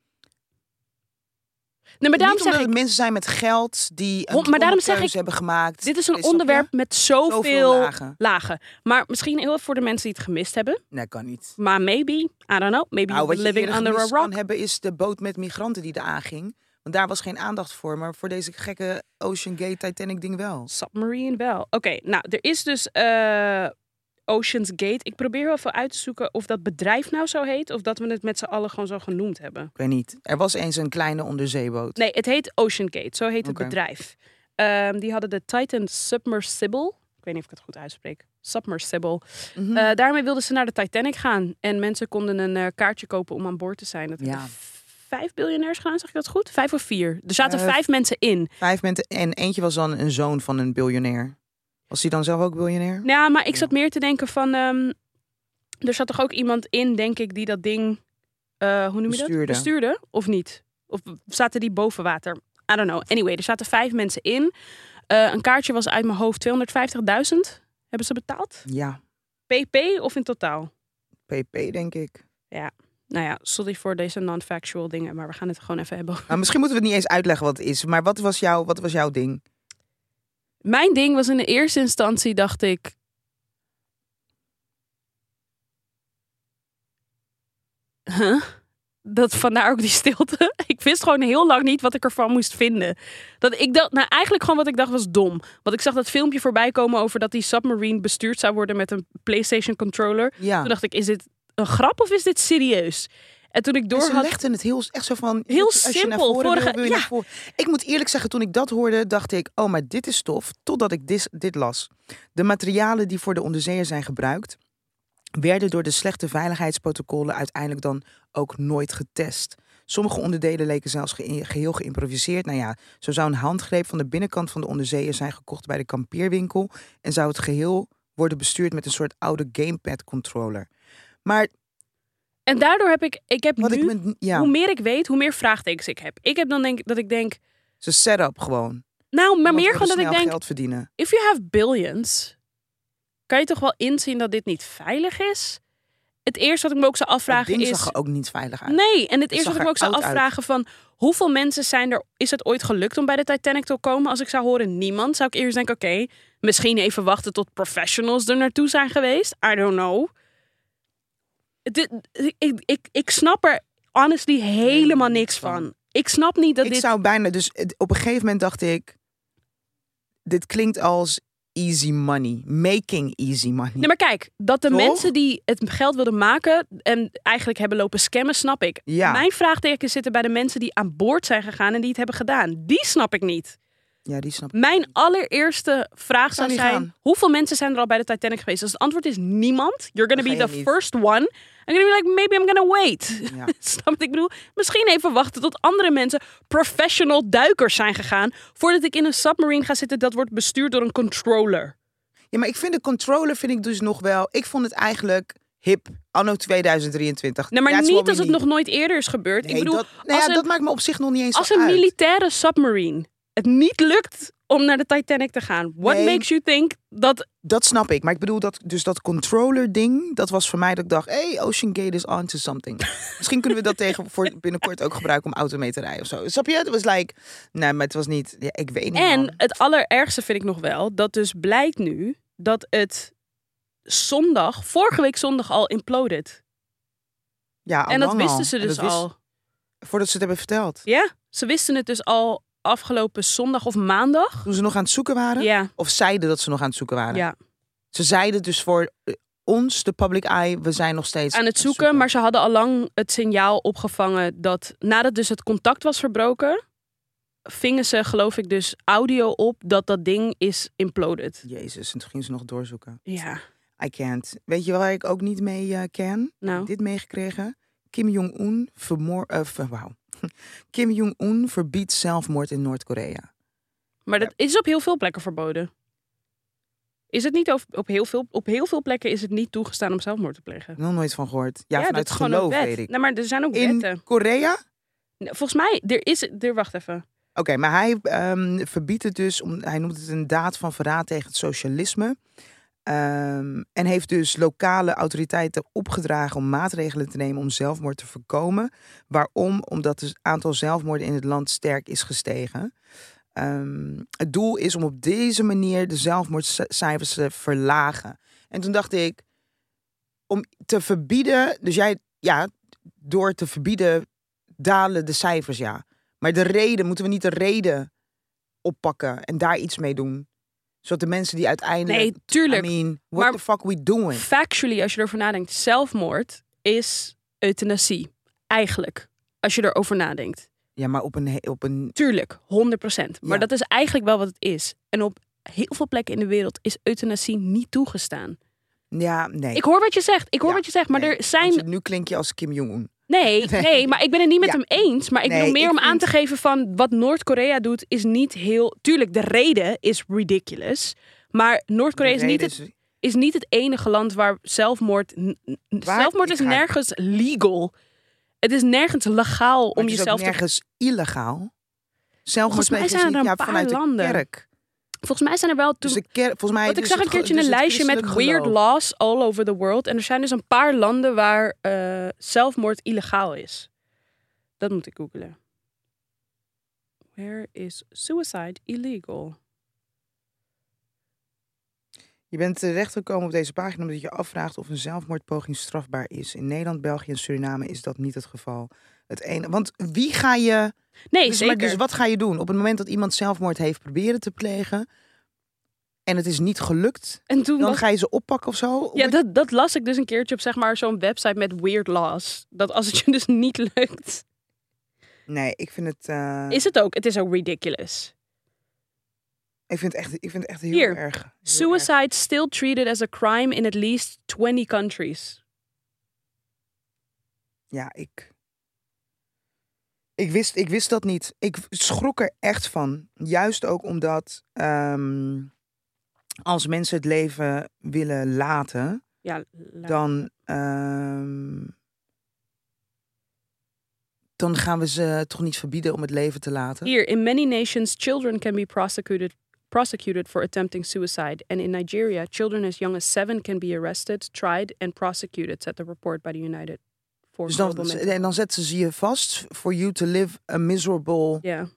B: maar daarom
A: niet omdat
B: zeg ik,
A: het mensen zijn met geld die een
B: Hon- maar daarom zeg
A: keuze
B: ik,
A: hebben gemaakt.
B: dit is
A: Nee, snap je?
B: een onderwerp met zoveel,
A: Zoveel lagen.
B: lagen. Maar misschien heel even voor de mensen die het gemist hebben.
A: Nee, kan niet.
B: Maar maybe, I don't know,
A: Nou,
B: maybe you've
A: wat
B: been
A: je
B: living
A: eerder
B: under a
A: gemist
B: rock.
A: kan hebben is de boot met migranten die eraan ging. Want daar was geen aandacht voor, maar voor deze gekke Ocean Gate Titanic ding wel.
B: Submarine wel. Oké, nou, er is dus eh, Ocean's Gate. Ik probeer wel even uit te zoeken of dat bedrijf nou zo heet... of dat we het met z'n allen gewoon zo genoemd hebben.
A: Ik weet niet. Er was eens een kleine onderzeeboot.
B: Nee, het heet Ocean Gate. Zo heet het
A: Oké.
B: bedrijf. Ehm, die hadden de Titan Submersible. Ik weet niet of ik het goed uitspreek. Submersible.
A: Mhm.
B: Eh, daarmee wilden ze naar de Titanic gaan. En mensen konden een eh, kaartje kopen om aan boord te zijn. Dat
A: Ja.
B: hebben v- vijf biljonairs gedaan, zeg ik dat goed? Vijf of vier. Er zaten
A: Eh,
B: vijf mensen in.
A: Vijf mensen en eentje was dan een zoon van een biljonair. Was hij dan zelf ook biljonair?
B: Nou Ja, maar ik zat meer te denken van... ehm, er zat toch ook iemand in, denk ik, die dat ding... eh, hoe noem je dat?
A: Bestuurde.
B: Bestuurde, of niet? Of zaten die boven water? I don't know. Anyway, er zaten vijf mensen in. Eh, een kaartje was uit mijn hoofd 250.000. Hebben ze betaald?
A: Ja,
B: PP of in totaal?
A: PP denk ik.
B: Nou ja, sorry voor deze non-factual dingen, maar we gaan het gewoon even hebben. over-
A: Nou, misschien moeten we het niet eens uitleggen wat het is. Maar wat was, jouw, wat was jouw ding?
B: Mijn ding was in de eerste instantie, dacht ik. Huh? Dat vandaar ook die stilte. (laughs) Ik wist gewoon heel lang niet wat ik ervan moest vinden. Dat ik dacht, nou eigenlijk gewoon wat ik dacht was dom. Want ik zag dat filmpje voorbij komen over dat die submarine bestuurd zou worden met een PlayStation controller.
A: Ja.
B: Toen dacht ik, is dit een grap of is dit serieus? En toen ik
A: En
B: door
A: ze
B: had.
A: legden het heel echt zo van
B: Heel
A: als je naar
B: simpel,
A: voren wil,
B: vorige-
A: wil je
B: ja.
A: naar voren. Ik moet eerlijk zeggen, toen ik dat hoorde, dacht ik: oh, maar dit is stof. Totdat ik dis- dit las. De materialen die voor de onderzeeër zijn gebruikt, werden door de slechte veiligheidsprotocollen uiteindelijk dan ook nooit getest. Sommige onderdelen leken zelfs ge- geheel geïmproviseerd. Nou ja, zo zou een handgreep van de binnenkant van de onderzeeër zijn gekocht bij de kampeerwinkel en zou het geheel worden bestuurd met een soort oude gamepad controller. Maar
B: En daardoor heb ik. Ik heb
A: wat
B: nu,
A: ik me ja,
B: hoe meer ik weet, hoe meer vraagtekens ik heb. Ik heb dan denk dat ik denk.
A: ze setup gewoon.
B: Nou, maar
A: Want
B: meer
A: we
B: gewoon dat
A: willen
B: ik
A: snel
B: denk,
A: geld verdienen.
B: if you have billions, kan je toch wel inzien dat dit niet veilig is? Het eerste wat ik me ook zou
A: Vraag
B: afvragen
A: ding
B: is...
A: zag er ook niet veilig uit.
B: Nee, en het
A: Het zag
B: eerste wat ik me ook
A: er
B: zou
A: oud uit.
B: afvragen van... Hoeveel mensen zijn er... Is het ooit gelukt om bij de Titanic te komen? Als ik zou horen niemand, zou ik eerst denken... Oké, misschien even wachten tot professionals er naartoe zijn geweest. I don't know. Dit, ik, ik, ik snap er honestly helemaal niks van. Ik snap niet dat
A: ik
B: dit...
A: zou bijna, dus het- op een gegeven moment dacht ik, dit klinkt als easy money, making easy money.
B: Nee, maar kijk, dat de
A: Toch?
B: mensen die het geld wilden maken en eigenlijk hebben lopen scammen, snap ik.
A: Ja.
B: Mijn vraagtekens zitten bij de mensen die aan boord zijn gegaan en die het hebben gedaan. Die snap ik niet.
A: Ja, die snap ik.
B: Mijn allereerste vraag zou
A: die
B: zijn:
A: gaan?
B: hoeveel mensen zijn er al bij de Titanic geweest? Als het antwoord is niemand, you're gonna
A: Dan
B: be
A: ga
B: the
A: je niet.
B: first one. I'm gonna be like, maybe I'm gonna wait.
A: Ja.
B: (laughs) Snap je wat ik bedoel? Misschien even wachten tot andere mensen professional duikers zijn gegaan voordat ik in een submarine ga zitten dat wordt bestuurd door een controller.
A: Ja, maar ik vind de controller vind ik dus nog wel... Ik vond het eigenlijk hip, anno 2023.
B: Nee, maar
A: That's what
B: niet
A: we
B: als het
A: need.
B: nog nooit eerder is gebeurd.
A: Nee,
B: ik bedoel,
A: dat, nou
B: als
A: ja,
B: een-
A: dat maakt me op zich nog niet eens
B: als
A: zo
B: een
A: uit.
B: militaire submarine het niet lukt om naar de Titanic te gaan. What
A: Nee.
B: makes you think dat...
A: Dat snap ik. Maar ik bedoel, dat, dus dat controller-ding, dat was voor mij dat ik dacht... hey, Ocean Gate is onto
B: (laughs)
A: something. Misschien kunnen we dat tegen voor binnenkort ook gebruiken om auto mee te rijden of zo. Snap je? Het was like... Nee, maar het was niet... Ja, ik weet niet,
B: En
A: man.
B: het allerergste vind ik nog wel, dat dus blijkt nu dat het zondag, vorige week zondag al imploded.
A: Ja, al
B: en dat
A: lang
B: wisten
A: al.
B: ze
A: En
B: dus
A: dat wist-
B: al.
A: Voordat ze het hebben verteld.
B: Ja, ze wisten het dus al afgelopen zondag of maandag.
A: Toen ze nog aan het zoeken waren?
B: Ja,
A: Of zeiden dat ze nog aan het zoeken waren?
B: ja.
A: Ze zeiden dus voor eh, ons, de public eye, we zijn nog steeds
B: aan het zoeken, maar ze hadden al lang het signaal opgevangen dat nadat dus het contact was verbroken, vingen ze geloof ik dus audio op dat dat ding is imploded.
A: Jezus, en toen gingen ze nog doorzoeken.
B: Ja,
A: I can't. Weet je waar ik ook niet mee eh, kan?
B: nou.
A: Dit meegekregen. Kim Jong-un vermoor... eh, ver- wauw. (laughs) Kim Jong-un verbiedt zelfmoord in Noord-Korea.
B: Maar dat is op heel veel plekken verboden. Is het niet op, op, heel veel, op heel veel plekken is het niet toegestaan om zelfmoord te plegen?
A: Nog nooit van gehoord. Ja,
B: dat
A: vanuit
B: is gewoon een
A: geloof
B: wet.
A: weet ik.
B: Nou, maar er zijn ook
A: in
B: wetten.
A: Korea? Oké,
B: Nee, Volgens mij, er is... Er, wacht even.
A: maar hij ehm, verbiedt het dus... Om, hij noemt het een daad van verraad tegen het socialisme. Ehm, en heeft dus lokale autoriteiten opgedragen om maatregelen te nemen om zelfmoord te voorkomen. Waarom? Omdat het aantal zelfmoorden in het land sterk is gestegen. Ehm, het doel is om op deze manier de zelfmoordcijfers te verlagen. En toen dacht ik, om te verbieden, dus jij, ja, door te verbieden dalen de cijfers, ja. Maar de reden, moeten we niet de reden oppakken en daar iets mee doen? Zodat de mensen die uiteindelijk
B: Nee, tuurlijk.
A: I mean, what
B: Maar-
A: the fuck we doing?
B: Factually, als je erover nadenkt, zelfmoord is euthanasie. Eigenlijk. Als je erover nadenkt.
A: Ja, maar op een, he- op een...
B: Tuurlijk, 100%. Maar
A: Ja.
B: dat is eigenlijk wel wat het is. En op heel veel plekken in de wereld is euthanasie niet toegestaan.
A: Ja, nee.
B: Ik hoor wat je zegt, ik hoor
A: Ja,
B: wat je zegt, maar
A: nee,
B: er
A: Want
B: zijn.
A: je- nu klink je als Kim Jong-un. (laughs)
B: Nee,
A: Nee.
B: nee, maar ik ben het niet met
A: Ja.
B: hem eens. Maar ik
A: Nee,
B: bedoel meer
A: ik
B: om aan
A: vind-
B: te geven van wat Noord-Korea doet is niet heel. Tuurlijk, de reden is ridiculous. Maar Noord-Korea is,
A: Nee,
B: niet
A: dus-
B: het- is niet het enige land waar zelfmoord. n- n- zelfmoord
A: Ik
B: is
A: ga-
B: nergens legal. Het is nergens legaal
A: maar
B: om
A: het is ook
B: jezelf te
A: nergens illegaal. Zelfmoord
B: mij
A: plegen is
B: zijn er
A: niet-
B: een
A: ja,
B: paar
A: vanuit
B: landen.
A: de kerk.
B: Volgens mij zijn er wel.
A: Dus
B: toen-
A: de kerk, volgens mij...
B: Want ik
A: dus
B: zag
A: het
B: een
A: ge-
B: keertje
A: dus
B: een
A: het
B: lijstje met
A: christelijk
B: weird
A: geloof.
B: laws all over the world. En er zijn dus een paar landen waar eh, zelfmoord illegaal is. Dat moet ik googlen. Where is suicide illegal?
A: Je bent terechtgekomen op deze pagina omdat je je afvraagt of een zelfmoordpoging strafbaar is. In Nederland, België en Suriname is dat niet het geval. Het ene, want wie ga je...
B: Nee,
A: Dus,
B: zeker.
A: maar dus wat ga je doen? Op het moment dat iemand zelfmoord heeft proberen te plegen en het is niet gelukt,
B: en toen
A: dan
B: was-
A: ga je ze oppakken of zo?
B: ja, dat, dat las ik dus een keertje op zeg maar, zo'n website met weird laws. Dat als het je dus niet (laughs) lukt,
A: Nee, ik vind het, eh,
B: is het ook. Het is ook ridiculous.
A: ik vind het echt, ik vind het echt heel
B: Hier.
A: erg. heel erg.
B: Suicide still treated as a crime in at least 20 countries.
A: Ja, ik. Ik wist, ik wist dat niet. Ik schrok er echt van. Juist ook omdat ehm, als mensen het leven willen laten,
B: Ja, la-
A: dan, ehm, dan gaan we ze toch niet verbieden om het leven te laten.
B: Here, in many nations, children can be prosecuted prosecuted for attempting suicide, and in Nigeria, children as young as seven can be arrested, tried, and prosecuted, said the report by the United for
A: Dus dan,
B: Global Mental-
A: en dan zetten ze je vast for you to live a miserable.
B: Yeah.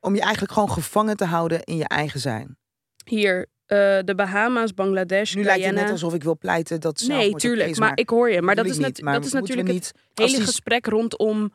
A: Om je eigenlijk gewoon gevangen te houden in je eigen zijn.
B: Hier, eh, de Bahama's, Bangladesh,
A: Nu lijkt het
B: Guyana.
A: net alsof ik wil pleiten dat ze.
B: nou. nee, tuurlijk, maar, ik hoor je. Maar dat is, nat- dat is natuurlijk het
A: niet. als
B: hele
A: die-
B: gesprek rondom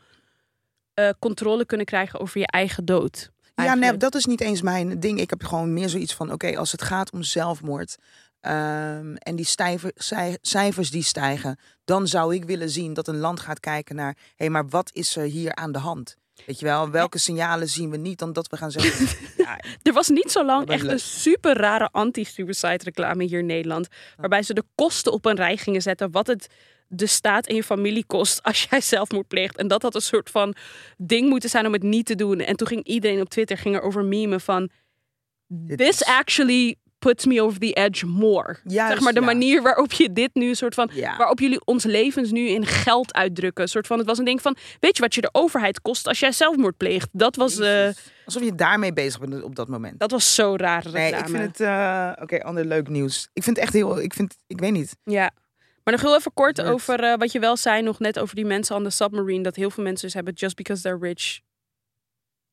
B: eh, controle kunnen krijgen over je eigen dood.
A: Ja, nee,
B: eigenlijk.
A: dat is niet eens mijn ding. Ik heb gewoon meer zoiets van: oké, als het gaat om zelfmoord ehm, en die stijver, cij- cijfers die stijgen, dan zou ik willen zien dat een land gaat kijken naar: hé, maar wat is er hier aan de hand? Weet je wel, welke signalen zien we niet dan dat we gaan
B: (laughs)
A: zeggen: ja,
B: Er was niet zo lang
A: Dat
B: echt
A: is
B: een
A: leuk.
B: super rare anti-suicide reclame hier in Nederland. Waarbij ze de kosten op een rij gingen zetten. Wat het de staat en je familie kost als jij zelfmoord pleegt. En dat had een soort van ding moeten zijn om het niet te doen. En toen ging iedereen op Twitter ging er over memen van...
A: Dit
B: This
A: is-
B: actually puts me over the edge more.
A: Juist,
B: zeg maar de
A: ja.
B: manier waarop je dit nu soort van.
A: Ja.
B: Waarop jullie ons levens nu in geld uitdrukken. Soort van, het was een ding van. Weet je wat je de overheid kost als jij zelfmoord pleegt? Dat was, eh,
A: Alsof je daarmee bezig bent op dat moment.
B: dat was zo raar.
A: nee, ik vind het... eh, Oké, ander leuk nieuws. Ik vind het echt heel... Ik vind... Ik weet niet.
B: Ja. Maar nog heel even kort
A: Word.
B: over eh, wat je wel zei, nog net over die mensen aan de submarine. Dat heel veel mensen dus hebben, just because they're rich,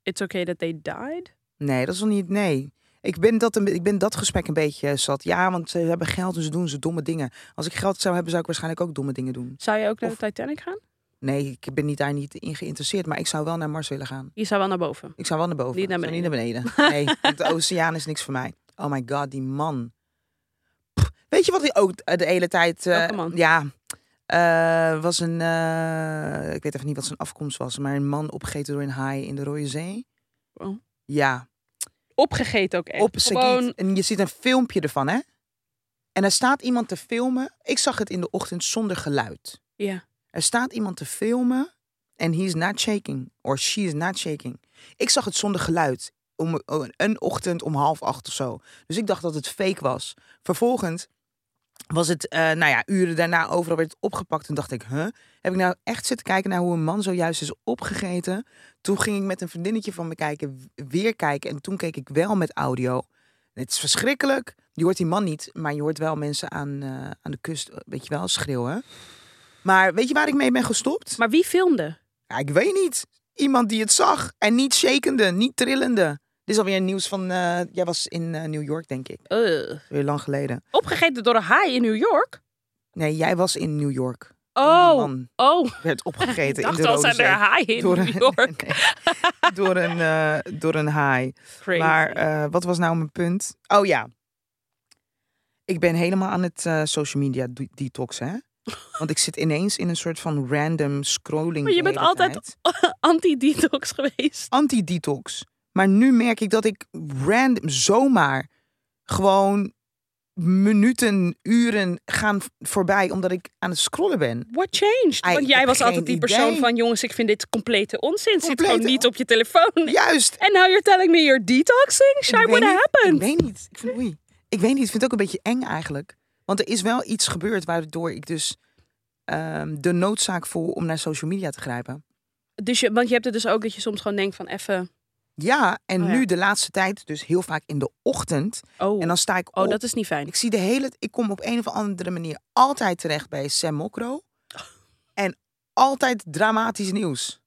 B: it's okay that they died.
A: Nee, dat is nog niet... Nee. Ik ben, dat een, ik ben dat gesprek een beetje eh, zat. Ja, want ze hebben geld, dus doen ze domme dingen. Als ik geld zou hebben, zou ik waarschijnlijk ook domme dingen doen.
B: Zou je ook naar
A: Of-
B: de Titanic gaan?
A: Nee, ik ben niet daar niet in geïnteresseerd. Maar ik zou wel naar Mars willen gaan.
B: Je zou wel naar boven.
A: Ik zou wel naar boven.
B: Niet naar
A: Ik zou Niet naar beneden.
B: (laughs)
A: Nee, want de oceaan is niks voor mij. Oh my god, die man. Pff, weet je wat hij ook eh, de hele tijd... eh,
B: Welke man?
A: Ja, eh, was een... eh, ik weet even niet wat zijn afkomst was. Maar een man opgegeten door een haai in de Rode Zee.
B: Oh.
A: Ja,
B: Opgegeten ook echt.
A: op
B: Gewoon,
A: Sagiet. En je ziet een filmpje ervan, hè? En er staat iemand te filmen. Ik zag het in de ochtend zonder geluid.
B: ja.
A: Er staat iemand te filmen en he is not shaking. Or she is not shaking. Ik zag het zonder geluid. Om een ochtend om half acht of zo. Dus ik dacht dat het fake was. Vervolgens was het, eh, nou ja, uren daarna overal werd het opgepakt. En dacht ik, huh? Heb ik nou echt zitten kijken naar hoe een man zojuist is opgegeten? Toen ging ik met een vriendinnetje van me kijken, weer kijken. En toen keek ik wel met audio. Het is verschrikkelijk. Je hoort die man niet, maar je hoort wel mensen aan, eh, aan de kust, weet je wel, schreeuwen. Maar weet je waar ik mee ben gestopt?
B: Maar wie filmde?
A: Ja, ik weet niet. Iemand die het zag. En niet shakende, niet trillende. Dit is alweer nieuws van... eh, jij was in eh, New York, denk ik.
B: Ugh.
A: Weer lang geleden.
B: Opgegeten door een haai in New York?
A: Nee, jij was in New York.
B: Oh,
A: Die man
B: oh.
A: werd
B: (laughs) Ik
A: opgegeten in
B: dacht
A: de
B: al,
A: Rode
B: zijn er
A: Zee.
B: haaien in
A: Door
B: New
A: een-
B: York?
A: (laughs) Nee, door, een, eh, door een haai.
B: Crazy.
A: (laughs) Maar eh, wat was nou mijn punt? Oh ja. Ik ben helemaal aan het eh, social media de- detox,
B: (laughs)
A: hè? Want ik zit ineens in een soort van random scrolling.
B: Maar je
A: de
B: bent
A: hele
B: altijd-
A: tijd.
B: Anti-detox geweest.
A: anti-detox. Maar nu merk ik dat ik random zomaar gewoon minuten, uren gaan v- voorbij omdat ik aan het scrollen ben.
B: What changed?
A: Ai,
B: Want
A: ik
B: jij
A: heb
B: was altijd
A: geen
B: die persoon
A: idee.
B: van... jongens, ik vind dit complete onzin. Zit
A: Complete
B: gewoon niet op je telefoon.
A: Juist.
B: And now you're telling me you're detoxing?
A: Ik
B: Shai,
A: weet
B: what
A: niet- Ik
B: happened?
A: weet niet. Ik vind, oei. ik weet niet. Ik vind het ook een beetje eng eigenlijk. Want er is wel iets gebeurd waardoor ik dus ehm, de noodzaak voel om naar social media te grijpen.
B: Dus je, want je hebt het dus ook dat je soms gewoon denkt van even...
A: Ja, en
B: Oh ja.
A: nu de laatste tijd, dus heel vaak in de ochtend.
B: Oh,
A: En dan sta ik op.
B: oh dat is niet fijn.
A: Ik zie de hele. Ik kom op een of andere manier altijd terecht bij Sam
B: (laughs)
A: Mokro. En altijd dramatisch nieuws.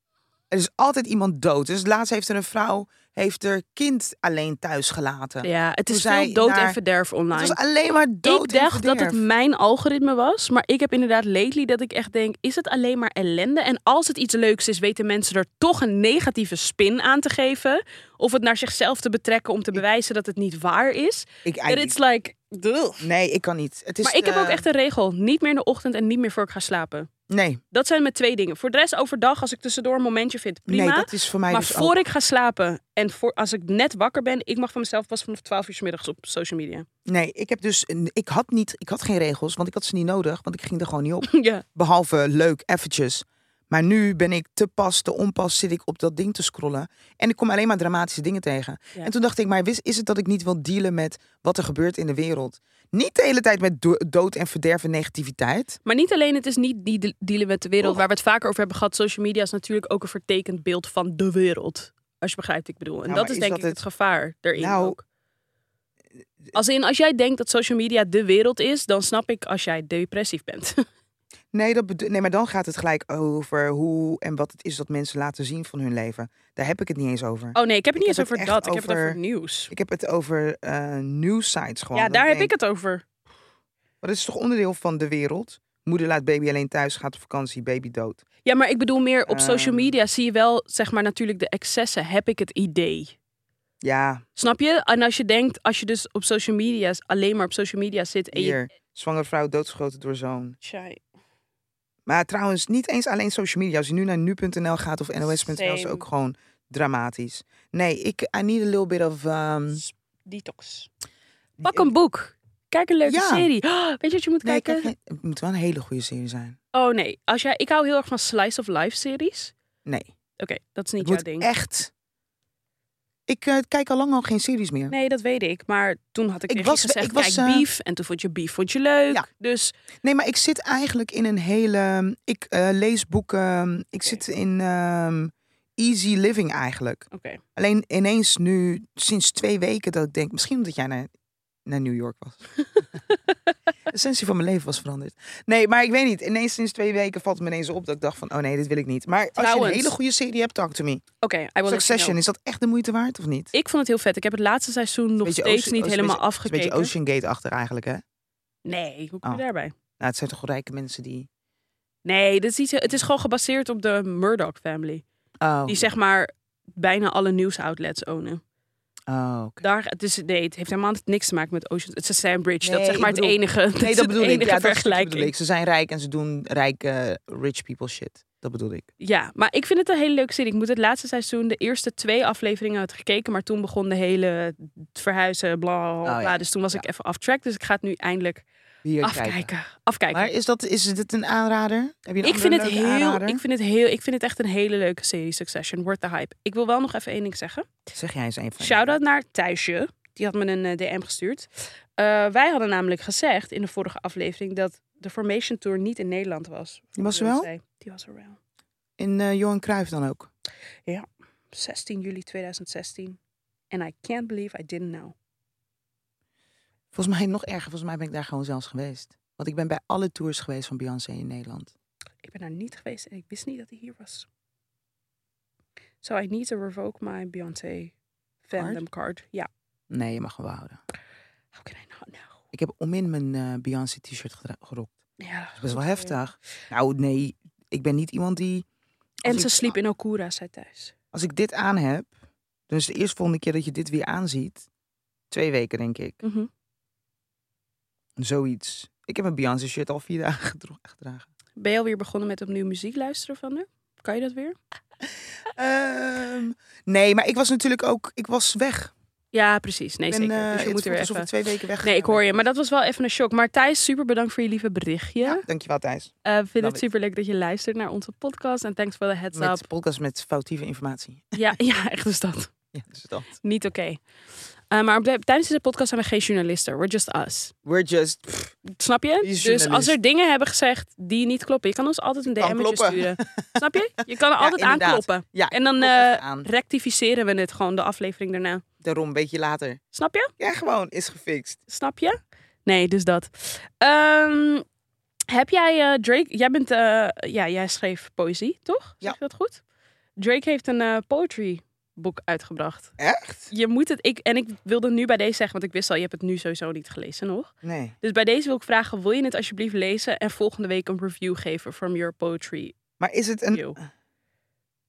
A: Er is altijd iemand dood. Dus laatst heeft er een vrouw heeft haar kind alleen thuis gelaten.
B: Ja, het is
A: Toen zij
B: veel dood
A: naar-
B: en verderf
A: Het
B: online.
A: was alleen maar dood.
B: ik
A: en
B: dacht dat het
A: verderf.
B: mijn algoritme was. Maar ik heb inderdaad lately dat ik echt denk... is het alleen maar ellende? En als het iets leuks is, weten mensen er toch een negatieve spin aan te geven. Of het naar zichzelf te betrekken om te bewijzen dat het niet waar is.
A: Ik,
B: En
A: eigenlijk-
B: it's like... ugh.
A: nee, ik kan niet. Het is
B: Maar ik heb
A: eh,
B: ook echt een regel. Niet meer in de ochtend en niet meer voor ik ga slapen.
A: Nee,
B: Dat zijn mijn twee dingen. Voor de rest overdag, als ik tussendoor een momentje vind, prima.
A: nee, dat is voor mij
B: Maar
A: dus
B: voor
A: ook-
B: ik ga slapen en voor, als ik net wakker ben, ik mag van mezelf pas vanaf 12 uur 's middags op social media. (laughs)
A: Nee, ik heb dus... een- Ik had, niet, ik had geen regels, want ik had ze niet nodig. Want ik ging er gewoon niet op. (laughs)
B: ja.
A: Behalve leuk, eventjes. Maar nu ben ik te pas, te onpas zit ik op dat ding te scrollen. En ik kom alleen maar dramatische dingen tegen.
B: Ja.
A: En toen dacht ik, maar wist, is het dat ik niet wil dealen met wat er gebeurt in de wereld? Niet de hele tijd met do- dood en verderf en negativiteit.
B: Maar niet alleen, het is niet die de- dealen met de wereld waar we het vaker over hebben gehad. Social media is natuurlijk ook een vertekend beeld van de wereld. Als je begrijpt, wat ik bedoel. En
A: Nou,
B: dat
A: maar
B: is
A: is
B: denk
A: dat
B: ik het,
A: het-
B: gevaar erin
A: Nou,
B: ook. Als, in, als jij denkt dat social media de wereld is, dan snap ik als jij depressief bent. (laughs)
A: Nee, dat bedo- nee, maar dan gaat het gelijk over hoe en wat het is dat mensen laten zien van hun leven. Daar heb ik het niet eens over.
B: Oh nee, ik heb het
A: Ik
B: niet
A: heb
B: eens over
A: het echt
B: dat. Ik heb het
A: over-
B: over nieuws.
A: Ik heb het over eh news sites gewoon.
B: Ja,
A: Dat
B: daar heb
A: denk-
B: ik het over.
A: Maar dat is toch onderdeel van de wereld? Moeder laat baby alleen thuis, gaat op vakantie, baby dood.
B: Ja, maar ik bedoel meer op social
A: Ehm.
B: media zie je wel, zeg maar, natuurlijk de excessen, heb ik het idee.
A: Ja,
B: Snap je? En als je denkt, als je dus op social media, alleen maar op social media zit en Eh, je...
A: hier. Zwangere vrouw doodgeschoten door zoon.
B: Tjai,
A: Maar trouwens, niet eens alleen social media. Als je nu naar nu.nl gaat of nos.nl is
B: Same.
A: ook gewoon dramatisch. Nee, ik I need a little bit of... ehm,
B: Detox. Pak een boek. Kijk een leuke
A: Eh, Ja.
B: serie. (gasps) Oh, weet je wat je moet
A: Nee, ik heb
B: kijken?
A: geen- het moet wel een hele goede serie zijn.
B: Oh nee, als jij, ik hou heel erg van slice of life series.
A: Nee,
B: Oké, dat
A: het
B: is niet jouw
A: moet
B: ding.
A: echt... Ik eh, kijk al lang al geen series meer.
B: Nee, dat weet ik. Maar toen had ik,
A: Ik
B: tegen je
A: was-
B: gezegd,
A: ik was,
B: kijk
A: eh,
B: Beef. En toen vond je Beef vond je leuk.
A: Ja.
B: Dus
A: Nee, maar ik zit eigenlijk in een hele. Ik eh, lees boeken. Ik zit in ehm, easy living eigenlijk.
B: oké.
A: Alleen ineens nu, sinds twee weken, dat ik denk, misschien omdat jij naar, naar New York
B: (laughs)
A: was. de essentie van mijn leven was veranderd. Nee, maar ik weet niet. Ineens sinds twee weken valt het me ineens op dat ik dacht van, oh nee, dit wil ik niet. Maar als je
B: Trouwens.
A: een hele goede serie hebt, talk to me.
B: Oké, I will let you
A: Succession,
B: know.
A: is dat echt de moeite waard of niet?
B: Ik vond het heel vet. Ik heb het laatste seizoen nog
A: Beetje
B: steeds
A: Ocean-
B: niet
A: Ocean-
B: helemaal
A: beetje- Een
B: afgekeken.
A: beetje Ocean Gate achter eigenlijk, hè?
B: Nee, hoe kom je
A: Oh.
B: daarbij?
A: Nou, het zijn toch rijke mensen die...
B: Nee, dit is iets, het is gewoon gebaseerd op de Murdoch family.
A: Oh,
B: Die zeg maar bijna alle nieuwsoutlets ownen.
A: oh oké.
B: Daar, het, is, nee, het heeft helemaal niks te maken met Ocean. Het is Sand Bridge,
A: Nee,
B: dat is zeg
A: ik
B: maar
A: bedoel-
B: het enige, dat
A: Nee,
B: is
A: dat
B: het
A: bedoel ik.
B: enige
A: Ja, dat
B: vergelijking.
A: bedoel ik. Ze zijn rijk en ze doen rijke eh, rich people shit. Dat bedoel ik.
B: Ja, maar ik vind het een hele leuke serie. Ik moet het laatste seizoen, de eerste twee afleveringen had gekeken. Maar toen begon de hele het verhuizen, bla bla, bla.
A: Oh ja,
B: Dus toen was ik
A: ja.
B: even off track. Dus ik ga het nu eindelijk
A: Hier
B: afkijken.
A: kijken.
B: Afkijken.
A: Maar is, dat, is dit een aanrader? Heb je een
B: ik, vind het
A: andere leuke
B: heel,
A: aanrader?
B: ik vind het heel, ik vind het echt een hele leuke serie Succession. Wordt de hype. Ik wil wel nog even één ding zeggen.
A: Zeg jij eens een van
B: Shout-out naar Thijsje. Die had me een eh, DM gestuurd. Eh, wij hadden namelijk gezegd in de vorige aflevering dat de Formation Tour niet in Nederland was.
A: Die was er wel?
B: Die was er wel.
A: In eh, Johan Cruijff dan ook.
B: 16 juli 2016. And I can't believe I didn't know.
A: Volgens mij nog erger. Volgens mij ben ik daar gewoon zelfs geweest. Want ik ben bij alle tours geweest van Beyoncé in Nederland.
B: Ik ben daar niet geweest en ik wist niet dat hij hier was. So I need to revoke my Beyoncé fandom card. Ja.
A: Nee, je mag hem wel houden.
B: How can I not know?
A: Ik heb onmin mijn eh, Beyoncé t-shirt gedra- gerokt.
B: Ja, dat
A: Dat is best wel
B: goed, eh.
A: heftig. Nou, nee. Ik ben niet iemand die... als
B: En ze
A: ik-
B: sliep in Okura, zei Thijs.
A: Als ik dit aan heb... Dan is de eerste volgende keer dat je dit weer aanziet... Twee weken, denk ik. Zoiets. Ik heb een Beyoncé shirt al vier dagen (laughs) gedro- gedragen.
B: Ben je alweer begonnen met opnieuw muziek luisteren van haar? Kan je dat weer?
A: Ehm, nee, maar ik was natuurlijk ook... Ik was weg.
B: Ja, precies. Nee,
A: Ik ben,
B: zeker.
A: eh,
B: dus je
A: het
B: moet er
A: voelt
B: weer
A: alsof
B: even...
A: ik twee weken weg
B: Nee, ik hoor je. Maar dat was wel even een shock. Maar Thijs, super bedankt voor je lieve berichtje.
A: Ja, dankjewel Thijs.
B: Eh, ik vind
A: Love
B: het
A: it.
B: super leuk dat je luistert naar onze podcast. En thanks for the heads
A: Met
B: up.
A: podcast met foutieve informatie. (laughs)
B: Ja, (laughs) ja, echt is dat.
A: Ja, dus dat.
B: Niet oké. Eh, maar op de- tijdens deze podcast zijn we geen journalisten. We're just us.
A: We're just... pff,
B: Snap je?
A: Wie is
B: Dus als
A: journalist?
B: er dingen hebben gezegd die niet kloppen, je kan ons altijd een
A: Kan
B: DM'tje
A: kloppen. (laughs)
B: sturen. Snap je? Je kan er altijd
A: inderdaad.
B: aankloppen.
A: ja,
B: En dan
A: klop
B: eh,
A: even aan.
B: rectificeren we het gewoon de aflevering daarna.
A: Daarom, een beetje later.
B: Snap je?
A: Ja, gewoon, is gefixt.
B: Snap je? Nee, dus dat. Ehm, heb jij eh, Drake? Jij bent, eh, ja, jij schreef poëzie, toch? Zeg
A: Ja.
B: je dat goed? Drake heeft een eh, poetry boek uitgebracht.
A: Echt?
B: Je moet het, ik, en ik wilde nu bij deze zeggen, want ik wist al, je hebt het nu sowieso niet gelezen nog.
A: Nee.
B: Dus bij deze wil ik vragen, wil je het alsjeblieft lezen en volgende week een review geven from your poetry
A: Maar is het een...
B: review?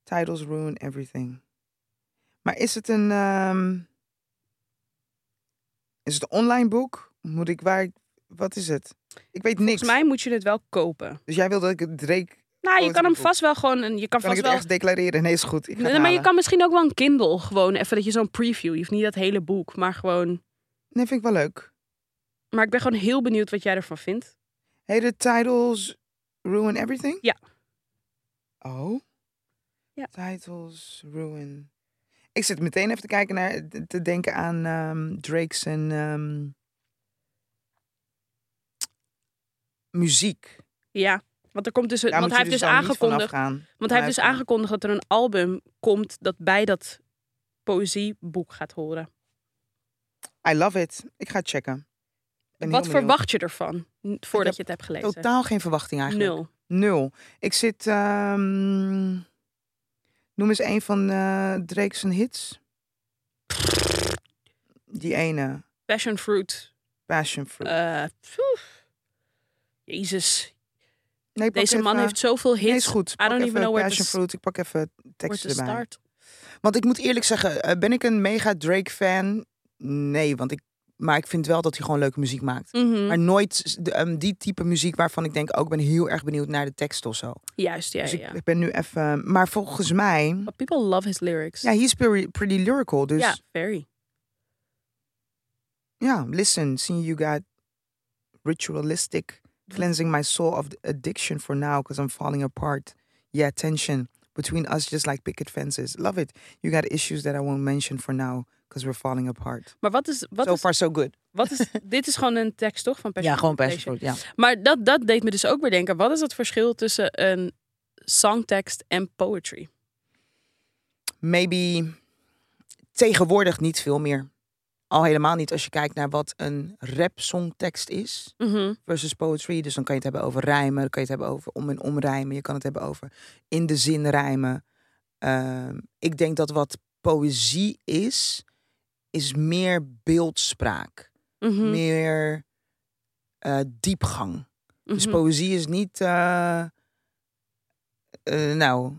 A: Titles ruin everything. Maar is het een... ehm, Is het een online boek? Moet ik waar... Wat is het? Ik weet niks.
B: Volgens mij moet je het wel kopen.
A: Dus jij wil dat ik het Drake...
B: Nou, je
A: Poetry
B: kan hem
A: boek.
B: vast wel gewoon, een- je
A: Kan
B: kan,
A: ik
B: vast
A: het
B: wel
A: ergens declareren? Nee, is goed. Ik ga
B: Nee,
A: het
B: maar je
A: halen.
B: kan misschien ook wel een Kindle gewoon even dat je zo'n preview. Je hoeft niet dat hele boek, maar gewoon.
A: Nee, vind ik wel leuk.
B: Maar ik ben gewoon heel benieuwd wat jij ervan vindt.
A: Heet het Titles ruin everything?
B: Ja.
A: Oh?
B: Ja.
A: Titles ruin... Ik zit meteen even te kijken naar... Te denken aan ehm, Drake's en... ehm, muziek.
B: Ja, want er komt dus,
A: Daar
B: want hij
A: moet
B: heeft
A: je
B: dus
A: dan niet vanaf
B: aangekondigd,
A: gaan.
B: want hij heeft dus
A: Vanuit
B: aangekondigd dat er een album komt dat bij dat poëzieboek gaat horen.
A: gaan. I love it. Ik ga het checken. Ik ben
B: wat
A: heel benieuwd.
B: verwacht je ervan n- voordat
A: heb
B: je het hebt gelezen?
A: Totaal geen verwachting eigenlijk.
B: Nul.
A: Nul. Ik zit... ehm, noem eens een van eh Drake's hits. Die ene.
B: Passion fruit.
A: Passion Fruit.
B: eh, pff. Jezus,
A: nee, ik pak
B: deze
A: even-
B: man heeft zoveel hits.
A: Nee, is goed. Ik
B: don't
A: pak
B: even
A: even
B: know where to
A: Passion
B: s-
A: Fruit. Ik pak even
B: Wordt
A: teksten
B: de
A: erbij.
B: start.
A: Want ik moet eerlijk zeggen, eh, ben ik een mega Drake-fan? Nee, want ik... Maar ik vind wel dat hij gewoon leuke muziek maakt.
B: Mhm.
A: Maar nooit de, ehm, die type muziek waarvan ik denk, ook ben heel erg benieuwd naar de tekst of zo.
B: Juist, ja,
A: dus ik,
B: ja.
A: ik ben nu even. Maar volgens mij.
B: But people love his lyrics.
A: Ja, hij is pretty, pretty lyrical. Dus
B: ja
A: ja.
B: very.
A: listen, seeing you got
B: Mm-hmm.
A: ritualistic, cleansing my soul of addiction for now, because I'm falling apart. Yeah, tension. between us, just like picket fences. Love it. You got issues that I won't mention for now, because we're falling apart.
B: Maar wat is, wat
A: so
B: is,
A: far, so good.
B: wat
A: (laughs)
B: is dit is gewoon een tekst toch van
A: Ja,
B: Passion
A: gewoon
B: Plantation?
A: passion fruit, Ja.
B: Maar dat, dat deed me dus ook bedenken. Wat is het verschil tussen een songtekst en poetry?
A: Maybe tegenwoordig niet veel meer. Al helemaal niet als je kijkt naar wat een rap songtekst is.
B: Mhm.
A: versus poetry. Dus dan kan je het hebben over rijmen, dan kan je het hebben over om en om rijmen. Je kan het hebben over in de zin rijmen. Ehm, ik denk dat wat poëzie is, is meer beeldspraak,
B: Mhm.
A: meer eh, diepgang. Dus
B: Mhm.
A: poëzie is niet, eh, eh, nou,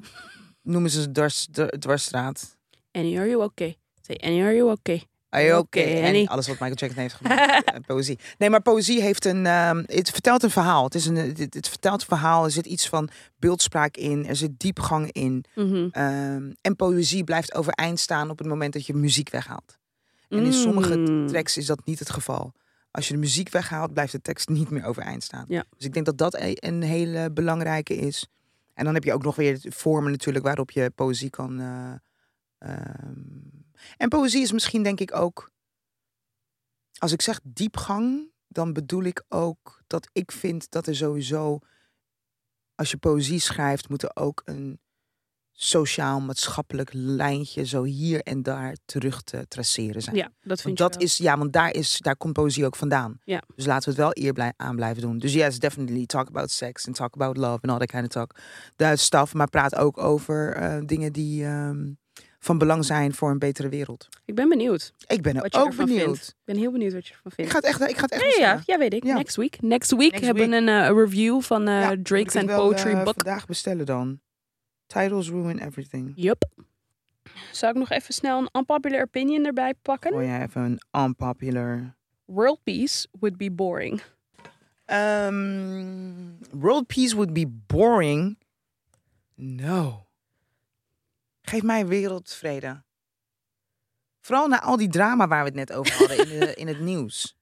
A: noemen ze het dwars, dwar- dwarsstraat.
B: Annie, are you okay? Say, Annie, are you okay?
A: Are you
B: Oké,
A: okay?
B: Annie.
A: En alles wat Michael Jackson heeft gemaakt. Eh, poëzie. Nee, maar poëzie heeft een. ehm, het vertelt een verhaal. Het, is een, het, het- het vertelt een verhaal. Er zit iets van beeldspraak in. Er zit diepgang in.
B: Mhm.
A: Ehm, en poëzie blijft overeind staan op het moment dat je muziek weghaalt. En in sommige
B: Mm.
A: tracks is dat niet het geval. Als je de muziek weghaalt, blijft de tekst niet meer overeind staan.
B: Ja.
A: Dus ik denk dat dat e- een hele belangrijke is. En dan heb je ook nog weer de vormen natuurlijk waarop je poëzie kan. eh, ehm. En poëzie is misschien denk ik ook. Als ik zeg diepgang, dan bedoel ik ook dat ik vind dat er sowieso. Als je poëzie schrijft, moet er ook een sociaal-maatschappelijk lijntje zo hier en daar terug te traceren zijn.
B: Ja, dat vind
A: Want
B: je
A: dat
B: wel.
A: is, ja, want daar, is, daar komt poëzie ook vandaan.
B: Ja.
A: Dus laten we het wel eer blij, aan blijven doen. Dus yes, definitely talk about sex and talk about love and all that kind of talk. That stuff, maar praat ook over eh, dingen die ehm, van belang zijn voor een betere wereld.
B: Ik ben benieuwd
A: Ik ben
B: wat
A: er
B: je
A: ook
B: ervan
A: benieuwd.
B: vindt. Ik ben heel benieuwd wat je ervan
A: Ik
B: vindt.
A: ga het echt, ik ga het echt
B: Ja, ja,
A: bestellen.
B: ja, weet ik.
A: Ja.
B: Next week. Next week
A: Next
B: hebben we een eh, review van eh,
A: Ja, moet
B: Drake's
A: ik het
B: and
A: wel,
B: Poetry
A: eh,
B: Book.
A: vandaag bestellen dan. Titles ruin everything.
B: Yup. Zou ik nog even snel een unpopular opinion erbij pakken?
A: Gooi jij even een unpopular...
B: World peace would be boring.
A: Ehm, world peace would be boring. No. Geef mij wereldvrede. Vooral na al die drama waar we het net
B: (laughs)
A: over hadden in, de- in het nieuws.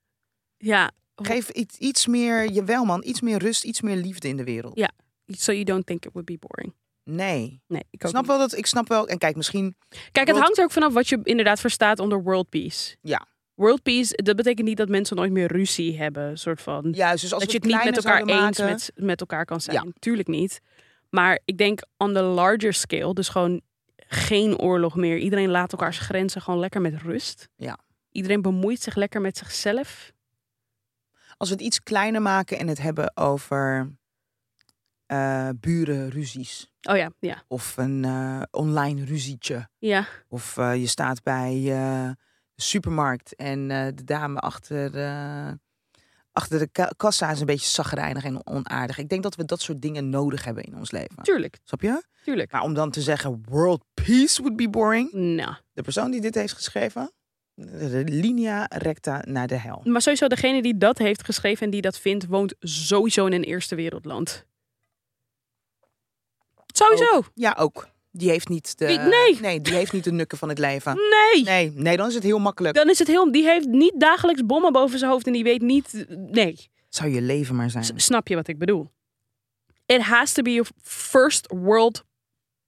B: Ja,
A: Geef iets, iets meer, jawel man, iets meer rust, iets meer liefde in de wereld.
B: Ja. so you don't think it would be boring.
A: Nee.
B: Nee, ik
A: Ik
B: ook
A: snap
B: niet.
A: wel dat, ik snap wel, en kijk, misschien,
B: Kijk, het
A: World-
B: hangt er ook vanaf wat je inderdaad verstaat onder world peace.
A: Ja.
B: World peace, dat betekent niet dat mensen nooit meer ruzie hebben, soort van.
A: juist, dus als
B: dat je
A: we
B: het niet met
A: kleiner
B: elkaar
A: zouden
B: eens
A: maken-
B: met, met elkaar kan zijn.
A: Ja.
B: Tuurlijk niet. Maar ik denk on the larger scale, dus gewoon geen oorlog meer. Iedereen laat elkaars grenzen gewoon lekker met rust.
A: Ja.
B: Iedereen bemoeit zich lekker met zichzelf.
A: Als we het iets kleiner maken en het hebben over eh burenruzies.
B: Oh ja, ja.
A: Of een eh, online ruzietje.
B: Ja,
A: Of eh, je staat bij eh, de supermarkt en eh, de dame achter, eh, achter de ka- kassa is een beetje zagrijnig en onaardig. Ik denk dat we dat soort dingen nodig hebben in ons leven.
B: tuurlijk,
A: Snap je?
B: tuurlijk.
A: Maar om dan te zeggen world peace would be boring.
B: Nou,
A: De persoon die dit heeft geschreven, de linea recta naar de hel.
B: maar sowieso degene die dat heeft geschreven en die dat vindt, woont sowieso in een eerste wereldland. Sowieso.
A: Ja, ook. Die heeft niet de,
B: Die- nee.
A: die heeft niet de nukken van het leven.
B: Nee.
A: Nee, nee, dan is het heel makkelijk.
B: Dan is het heel. Die heeft niet dagelijks bommen boven zijn hoofd en die weet niet. Nee.
A: Zou je leven maar
B: S-
A: zijn.
B: Snap je wat ik bedoel? It has to be a first world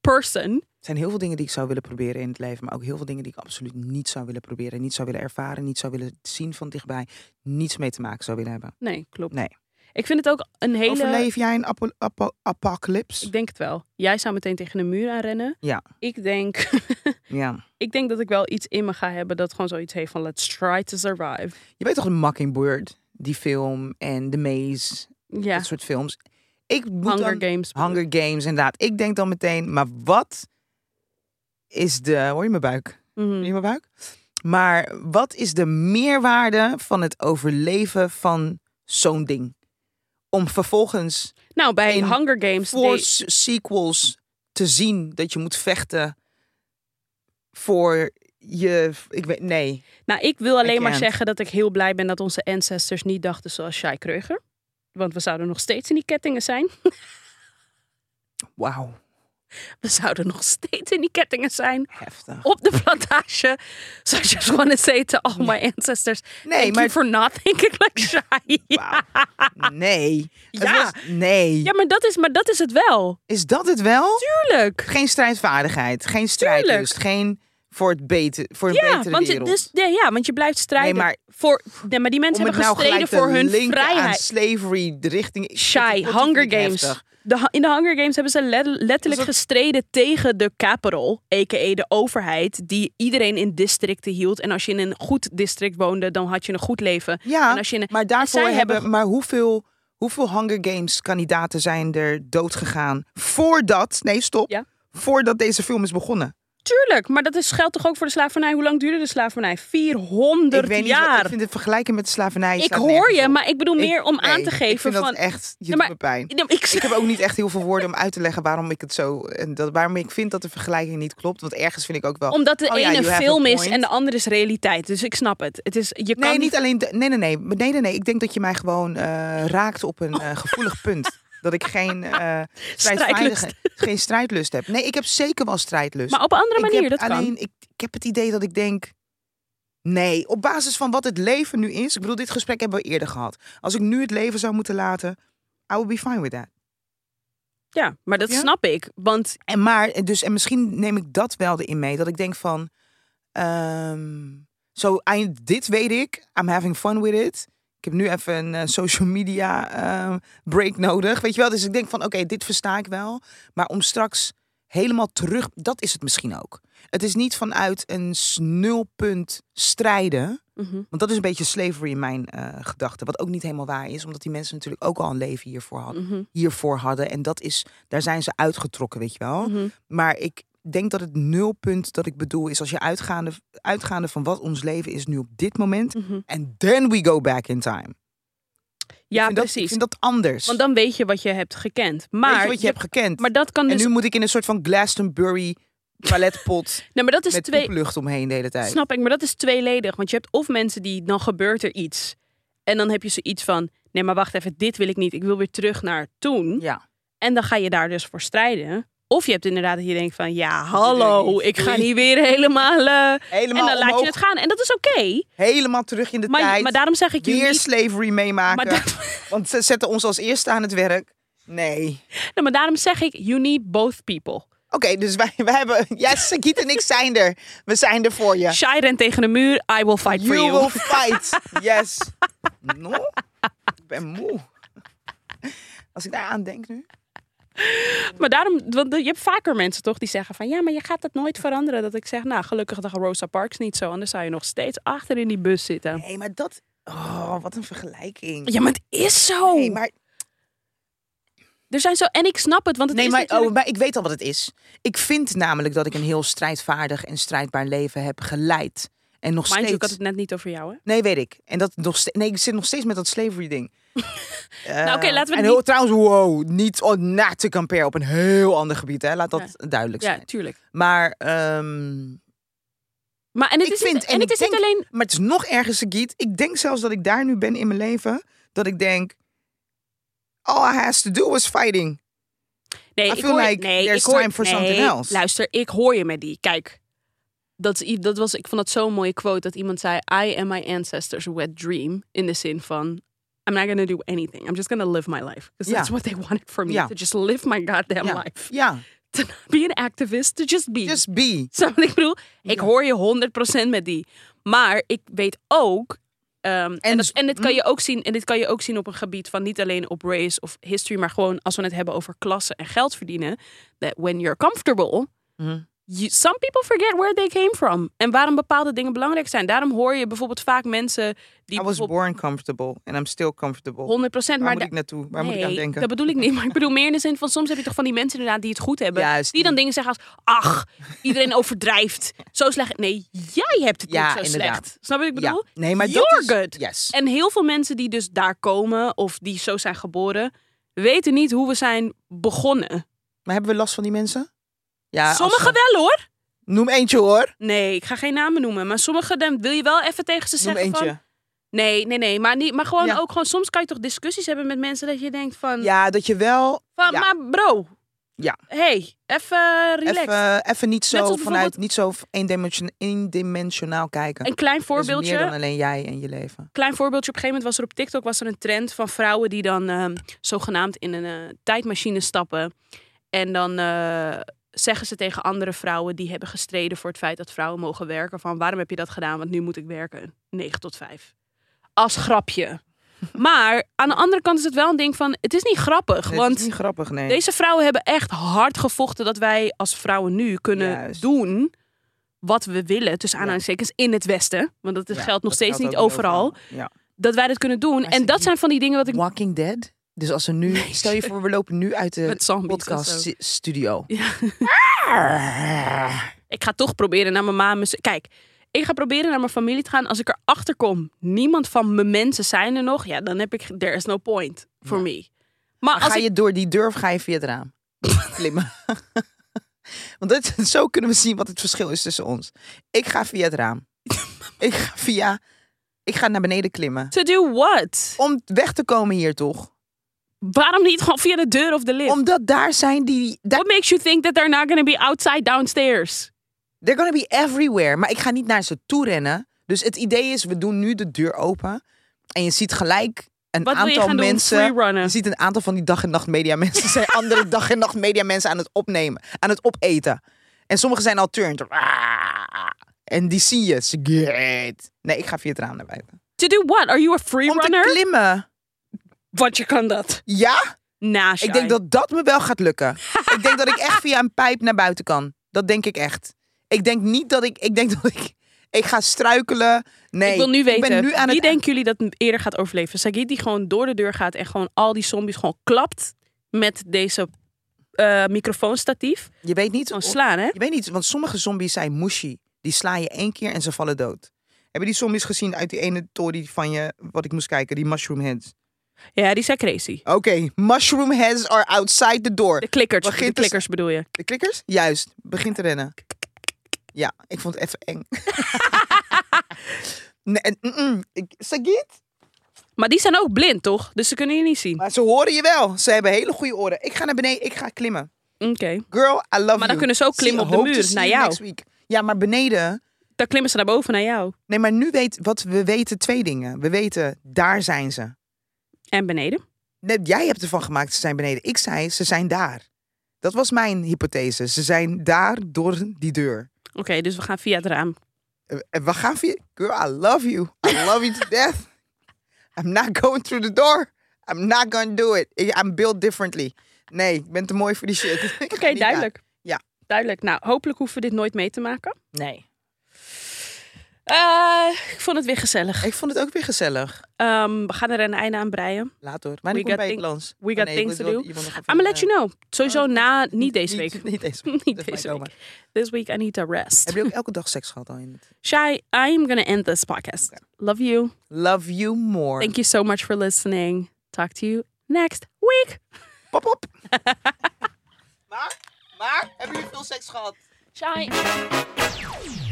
B: person.
A: Er zijn heel veel dingen die ik zou willen proberen in het leven, maar ook heel veel dingen die ik absoluut niet zou willen proberen, niet zou willen ervaren, niet zou willen zien van dichtbij, niets mee te maken zou willen hebben.
B: Nee, klopt.
A: Nee.
B: Ik vind het ook een hele.
A: Overleef jij een apo- apo- apocalypse?
B: Ik denk het wel. Jij zou meteen tegen een muur aanrennen.
A: Ja.
B: Ik denk, (laughs)
A: Ja.
B: ik denk dat ik wel iets in me ga hebben dat gewoon zoiets heeft van let's try to survive.
A: Je weet toch de Mockingbird, die film en The Maze,
B: Ja.
A: dat soort films. Ik moet
B: Hunger
A: dan-
B: Games.
A: Hunger Games, inderdaad. Ik denk dan meteen, maar wat is de... Hoor je mijn buik?
B: Mhm.
A: Hoor je mijn buik? Maar wat is de meerwaarde van het overleven van zo'n ding? Om vervolgens
B: Nou, bij
A: in
B: Hunger Games.
A: voor
B: deed-
A: s- sequels te zien dat je moet vechten voor je. Ik weet nee.
B: Nou, ik wil alleen maar
A: Erkend.
B: zeggen dat ik heel blij ben dat onze ancestors niet dachten zoals Shai Kreuger. Want we zouden nog steeds in die kettingen zijn.
A: Wauw.
B: (laughs) We zouden nog steeds in die kettingen zijn.
A: Heftig.
B: Op de plantage. (laughs) So I just want to say to all my ancestors.
A: Nee,
B: thank
A: maar-
B: you for not thinking like shy.
A: Wauw. Nee. Het
B: Ja.
A: was- nee.
B: Ja, maar dat, is, maar dat is het wel.
A: Is dat het wel?
B: Tuurlijk.
A: Geen strijdvaardigheid, geen strijdlust, geen voor het beter, voor een
B: Ja,
A: betere
B: want je,
A: wereld.
B: dus, ja, ja, want je blijft strijden.
A: Nee, maar-
B: voor, nee, maar die mensen
A: Om het
B: hebben
A: nou
B: gestreden
A: gelijk te
B: voor hun
A: linken aan
B: vrijheid.
A: slavery de richting. Ik-
B: Shy,
A: ik- ik-
B: Hunger
A: ik- ik-
B: Games.
A: heftig.
B: De, hu- in de Hunger Games hebben ze let- letterlijk
A: Was
B: gestreden tegen de capital, a.k.a. de overheid, die iedereen in districten hield. En als je in een goed district woonde, dan had je een goed leven.
A: Ja,
B: en als je in een-
A: maar daarvoor
B: zij
A: hebben,
B: hebben-
A: maar hoeveel, hoeveel Hunger Games kandidaten zijn er dood gegaan voordat, nee stop,
B: Ja.
A: voordat deze film is begonnen?
B: Tuurlijk, maar dat is, geldt toch ook voor de slavernij? Hoe lang duurde de slavernij? 400
A: ik weet niet,
B: jaar.
A: ik vind het vergelijken met de slavernij.
B: Ik
A: staat
B: hoor
A: nergens
B: je,
A: op.
B: maar ik bedoel
A: Ik-
B: meer om aan
A: nee,
B: te
A: Ik
B: geven
A: vind dat
B: van... (laughs)
A: echt, je
B: Ja,
A: doet
B: maar-
A: me pijn.
B: Ik, ik,
A: Ik heb ook niet echt heel veel woorden om uit te leggen waarom ik het zo en dat, waarom ik vind dat de vergelijking niet klopt. Want ergens vind ik ook wel.
B: Omdat de
A: oh ja,
B: ene
A: you have a
B: film is
A: point.
B: en de andere is realiteit. Dus ik snap het. het is, je kan
A: Nee, niet alleen. de- nee, nee, nee, nee, nee, nee. Ik denk dat je mij gewoon eh, raakt op een eh, gevoelig punt. Dat ik geen, eh,
B: (laughs)
A: strijdvaardige- geen strijdlust heb. Nee, ik heb zeker wel strijdlust.
B: Maar op een andere
A: Ik
B: manier,
A: heb
B: dat
A: alleen,
B: kan.
A: Ik, ik heb het idee dat ik denk. Nee, op basis van wat het leven nu is. Ik bedoel, dit gesprek hebben we eerder gehad. Als ik nu het leven zou moeten laten, I would be fine with that.
B: Ja, maar dat
A: Ja?
B: snap ik. Want
A: En maar, eh, dus, en misschien neem ik dat wel erin mee. Dat ik denk van, ehm, zo eind, dit weet ik. I'm having fun with it. Ik heb nu even een eh, social media ehm, break nodig. Weet je wel? Dus ik denk van, oké, dit versta ik wel. Maar om straks helemaal terug, dat is het misschien ook. Het is niet vanuit een s- nulpunt strijden.
B: Mhm.
A: Want dat is een beetje slavery in mijn eh gedachten. Wat ook niet helemaal waar is. Omdat die mensen natuurlijk ook al een leven hiervoor hadden
B: Mhm.
A: hiervoor hadden. En dat is, daar zijn ze uitgetrokken, weet je wel.
B: Mhm.
A: Maar ik denk dat het nulpunt dat ik bedoel is als je uitgaande, uitgaande van wat ons leven is nu op dit moment.
B: Mhm.
A: En then we go back in time. Ik
B: ja,
A: vind dat-
B: precies.
A: ik vind dat anders.
B: Want dan weet je wat je hebt gekend.
A: Weet je
B: Maar,
A: wat je, hebt gekend.
B: maar dat kan
A: en
B: dus.
A: nu moet ik in een soort van Glastonbury
B: (laughs)
A: toiletpot
B: nee, maar dat is
A: met
B: Dus twee.
A: lucht omheen de hele tijd.
B: Snap ik, maar dat is tweeledig. Want je hebt of mensen die dan gebeurt er iets. En dan heb je zoiets van. Nee, maar wacht even, dit wil ik niet. Ik wil weer terug naar toen.
A: Ja.
B: En dan ga je daar dus voor strijden. Of je hebt inderdaad dat je denkt van ja,
A: wil ik
B: hallo,
A: niet.
B: ik ga niet weer helemaal. eh,
A: Helemaal,
B: en dan laat je
A: omhoog,
B: het gaan. En dat is oké.
A: helemaal terug in de
B: Maar,
A: tijd.
B: maar daarom zeg ik je
A: Weer
B: niet.
A: slavery meemaken.
B: Maar, daar-
A: Want ze zetten ons als eerste aan het werk. Nee.
B: Nee, maar daarom zeg ik, you need both people.
A: Oké, dus wij, wij hebben. Ja, Sagiet en ik zijn er. We zijn er voor je.
B: Shai rent tegen de muur, I will fight for
A: you
B: you.
A: will fight. Yes. No? Ik ben moe. Als ik daar aan denk nu.
B: Maar daarom, want je hebt vaker mensen toch die zeggen van ja, maar je gaat dat nooit veranderen. Dat ik zeg, nou gelukkig dat Rosa Parks niet zo, anders zou je nog steeds achter in die bus zitten.
A: Nee, maar dat. Oh, wat een vergelijking.
B: Ja, maar het is zo.
A: Nee, maar,
B: Er zijn zo, en ik snap het, want het
A: nee,
B: is
A: maar,
B: natuurlijk-
A: oh, maar ik weet al wat het is. Ik vind namelijk dat ik een heel strijdvaardig en strijdbaar leven heb geleid. En oh, nog
B: Mind you, ik had
A: steeds.
B: het net niet over jou hè.
A: Nee, weet ik. En dat nog ste- Nee, ik zit nog steeds met dat slavery ding.
B: Nou, oké, laten we
A: En
B: het
A: heel,
B: niet-
A: trouwens, wow, niet on, not to compare op een heel ander gebied, hè? Laat dat duidelijk zijn.
B: Ja, tuurlijk.
A: Maar, ehm,
B: Maar en het
A: Ik
B: is
A: vind-
B: niet,
A: en
B: en
A: ik
B: het is niet
A: denk-
B: alleen,
A: maar het is nog ergens een giet. Ik denk zelfs dat ik daar nu ben in mijn leven, dat ik denk, all I has to do was fighting.
B: nee,
A: I
B: ik
A: feel
B: hoor,
A: like
B: nee,
A: there's
B: ik hoor,
A: time for
B: nee,
A: something else.
B: Luister, ik hoor je met die. Kijk, dat, is i- dat was, ik vond dat zo'n mooie quote dat iemand zei: I am my ancestors' wet dream. In de zin van: I'm not gonna do anything. I'm just gonna live my life. Because
A: Ja.
B: that's what they (laughs) wanted from me.
A: Ja.
B: To just live my goddamn
A: ja.
B: life. (laughs)
A: ja,
B: To not be an activist, to just be.
A: just be.
B: (laughs) Snap je wat ik bedoel? Ik hoor je 100% met die. Maar ik weet ook. ehm, en, dat-
A: s-
B: en, dit kan je ook zien, en dit kan je ook zien op een gebied van niet alleen op race of history, maar gewoon als we het hebben over klassen en geld verdienen. That when you're comfortable,
A: Mhm.
B: you- some people forget where they came from. En waarom bepaalde dingen belangrijk zijn. Daarom hoor je bijvoorbeeld vaak mensen die
A: I was
B: bijvoorbeeld
A: born comfortable and I'm still comfortable. Waar
B: 100%, maar
A: moet
B: da-
A: ik naartoe? Waar moet ik aan
B: Nee,
A: denken?
B: Dat bedoel ik niet. Maar ik bedoel meer in de zin van soms heb je toch van die mensen inderdaad die het goed hebben.
A: Juist,
B: die dan
A: die-
B: dingen zeggen als ach,
A: (laughs)
B: iedereen overdrijft. Zo slecht. Nee, jij hebt het
A: Ja,
B: niet zo
A: inderdaad.
B: slecht. Snap je wat ik
A: Ja.
B: bedoel?
A: Nee, maar
B: You're
A: dat is...
B: good.
A: Yes.
B: En heel veel mensen die dus daar komen of die zo zijn geboren, weten niet hoe we zijn begonnen.
A: Maar hebben we last van die mensen? Ja, als
B: Sommigen
A: ze-
B: wel hoor.
A: Noem eentje hoor.
B: Nee, ik ga geen namen noemen. Maar sommigen dan wil je wel even tegen ze
A: Noem
B: zeggen
A: eentje.
B: van. Nee, nee, nee. Maar, niet, maar gewoon
A: Ja.
B: ehm, ook gewoon. Soms kan je toch discussies hebben met mensen dat je denkt van.
A: Ja, dat je wel...
B: van
A: ja.
B: Maar bro,
A: Ja.
B: hey, even relax.
A: Even, even niet
B: Net
A: zo
B: als
A: vanuit,
B: bijvoorbeeld-
A: niet zo eendimension- eendimensionaal kijken.
B: Een klein
A: Er is
B: voorbeeldje.
A: meer dan alleen jij en je leven.
B: klein voorbeeldje. Op een gegeven moment was er op TikTok was er een trend van vrouwen die dan ehm, zogenaamd in een eh, tijdmachine stappen. En dan eh, zeggen ze tegen andere vrouwen die hebben gestreden voor het feit dat vrouwen mogen werken. Van waarom heb je dat gedaan? Want nu moet ik werken. 9 tot 5. Als
A: (laughs)
B: grapje. Maar aan de andere kant is het wel een ding van het is niet grappig.
A: Het
B: want
A: is niet grappig, nee.
B: deze vrouwen hebben echt hard gevochten dat wij als vrouwen nu kunnen
A: Juist.
B: doen wat we willen. Tussen
A: Ja.
B: aanhalingstekens in het Westen. Want dat
A: Ja,
B: geldt nog
A: dat
B: steeds
A: geldt
B: niet
A: ook
B: overal
A: Ja.
B: dat wij dat kunnen doen.
A: Maar
B: en
A: ze-
B: dat zijn van die dingen wat ik
A: Walking Dead. Dus als ze nu, stel je voor, we lopen nu uit de
B: met zombies of zo.
A: podcast studio.
B: (laughs) Ja. Ik ga toch proberen naar mijn ma. mijn zus- Kijk, ik ga proberen naar mijn familie te gaan. Als ik erachter kom, niemand van mijn mensen zijn er nog. Ja, dan heb ik, there is no point for
A: Ja.
B: me. Maar
A: Maar
B: als
A: ga
B: ik,
A: je door die deur of ga je via het
B: (laughs)
A: raam? Klimmen. (laughs) Want dat, zo kunnen we zien wat het verschil is tussen ons. Ik ga via het
B: (laughs)
A: raam. ik ga via... Ik ga naar beneden klimmen.
B: (laughs) to do what?
A: Om weg te komen hier toch?
B: Waarom niet gewoon via de deur of de lift?
A: Omdat daar zijn die... Daar,
B: What makes you think that they're not going to be outside downstairs?
A: they're gonna be everywhere. Maar ik ga niet naar ze toe rennen. Dus het idee is, we doen nu de deur open. En je ziet gelijk een
B: Wat wil je
A: aantal
B: gaan
A: mensen...
B: doen? Freerunnen.
A: Je ziet een aantal van die dag en nacht media mensen
B: (laughs)
A: zijn andere dag en nacht media mensen aan het opnemen, aan het opeten. En sommigen zijn al turned. En die zie je. Sigaret. Nee, ik ga via het raam naar buiten.
B: To do what? Are you a
A: Om te
B: freerunner?
A: klimmen.
B: Want je kan dat.
A: Ja?
B: Nah,
A: Ik denk dat dat me wel gaat
B: (laughs)
A: lukken. ik denk dat ik echt via een pijp naar buiten kan. Dat denk ik echt. Ik denk niet dat ik. Ik denk (laughs) dat ik. Ik ga struikelen. Nee.
B: ik wil nu weten,
A: ben nu aan
B: wie
A: het
B: denken jullie dat eerder gaat overleven? Sagit die gewoon door de deur gaat en gewoon al die zombies gewoon klapt met deze eh, microfoonstatief.
A: Je weet niet.
B: Gewoon
A: of-
B: slaan, hè?
A: Je weet niet, want sommige zombies zijn mushy. Die sla je één keer en ze vallen dood. Heb je die zombies gezien uit die ene tory van je, wat ik moest kijken, die mushroom heads?
B: Ja, die zijn crazy.
A: Oké, mushroom heads are outside the door.
B: De klikkers,
A: Begint
B: de
A: te-
B: klikkers bedoel je.
A: De klikkers? Juist, begin te rennen. Ja, ik vond het even
B: (laughs)
A: eng. nee, en, mm, mm, ik, Sagit?
B: Maar die zijn ook blind, toch? Dus ze kunnen je niet zien.
A: Maar ze horen je wel. Ze hebben hele goede oren. Ik ga naar beneden, ik ga klimmen.
B: Oké.
A: Girl, I love you.
B: dan kunnen ze ook
A: See-
B: klimmen op de
A: hope to
B: muur,
A: see
B: naar
A: you
B: jou.
A: next week. Ja, maar beneden
B: Dan klimmen ze naar boven naar jou.
A: Nee, maar nu weet wat we weten twee dingen. We weten, daar zijn ze.
B: En beneden.
A: Net jij hebt ervan gemaakt, ze zijn beneden. Ik zei, ze zijn daar. Dat was mijn hypothese. Ze zijn daar door die deur.
B: Oké, dus we gaan via het raam.
A: Eh, eh, We gaan via. Girl, I love you. I love you
B: (laughs)
A: to death. I'm not going through the door. I'm not gonna do it. I- I'm built differently. Nee, ik ben te mooi voor die shit. (laughs) Ik ga
B: Oké,
A: niet
B: duidelijk.
A: Ja.
B: Duidelijk. Nou, hopelijk hoeven we dit nooit mee te maken.
A: naar- Nee.
B: Eh, ik vond het weer gezellig.
A: Ik vond het ook weer gezellig.
B: Ehm, we gaan er een einde aan breien.
A: Laat hoor. Maar ik
B: got
A: kom bij
B: thing-
A: Lans.
B: we got things to do.
A: I'm
B: I'm gonna let you know. Sowieso na, Oh, (laughs) niet deze week.
A: eh, (laughs) Niet deze week.
B: Niet
A: Dat is
B: deze
A: mijn
B: week.
A: oma.
B: This week I need to rest.
A: Heb je ook elke dag seks gehad al in het
B: Shai, I'm going to end this podcast. Love you.
A: Love you more.
B: Thank you so much for listening. Talk to you next week.
A: Pop (laughs) op. maar, maar, hebben jullie veel seks gehad?
B: Shai.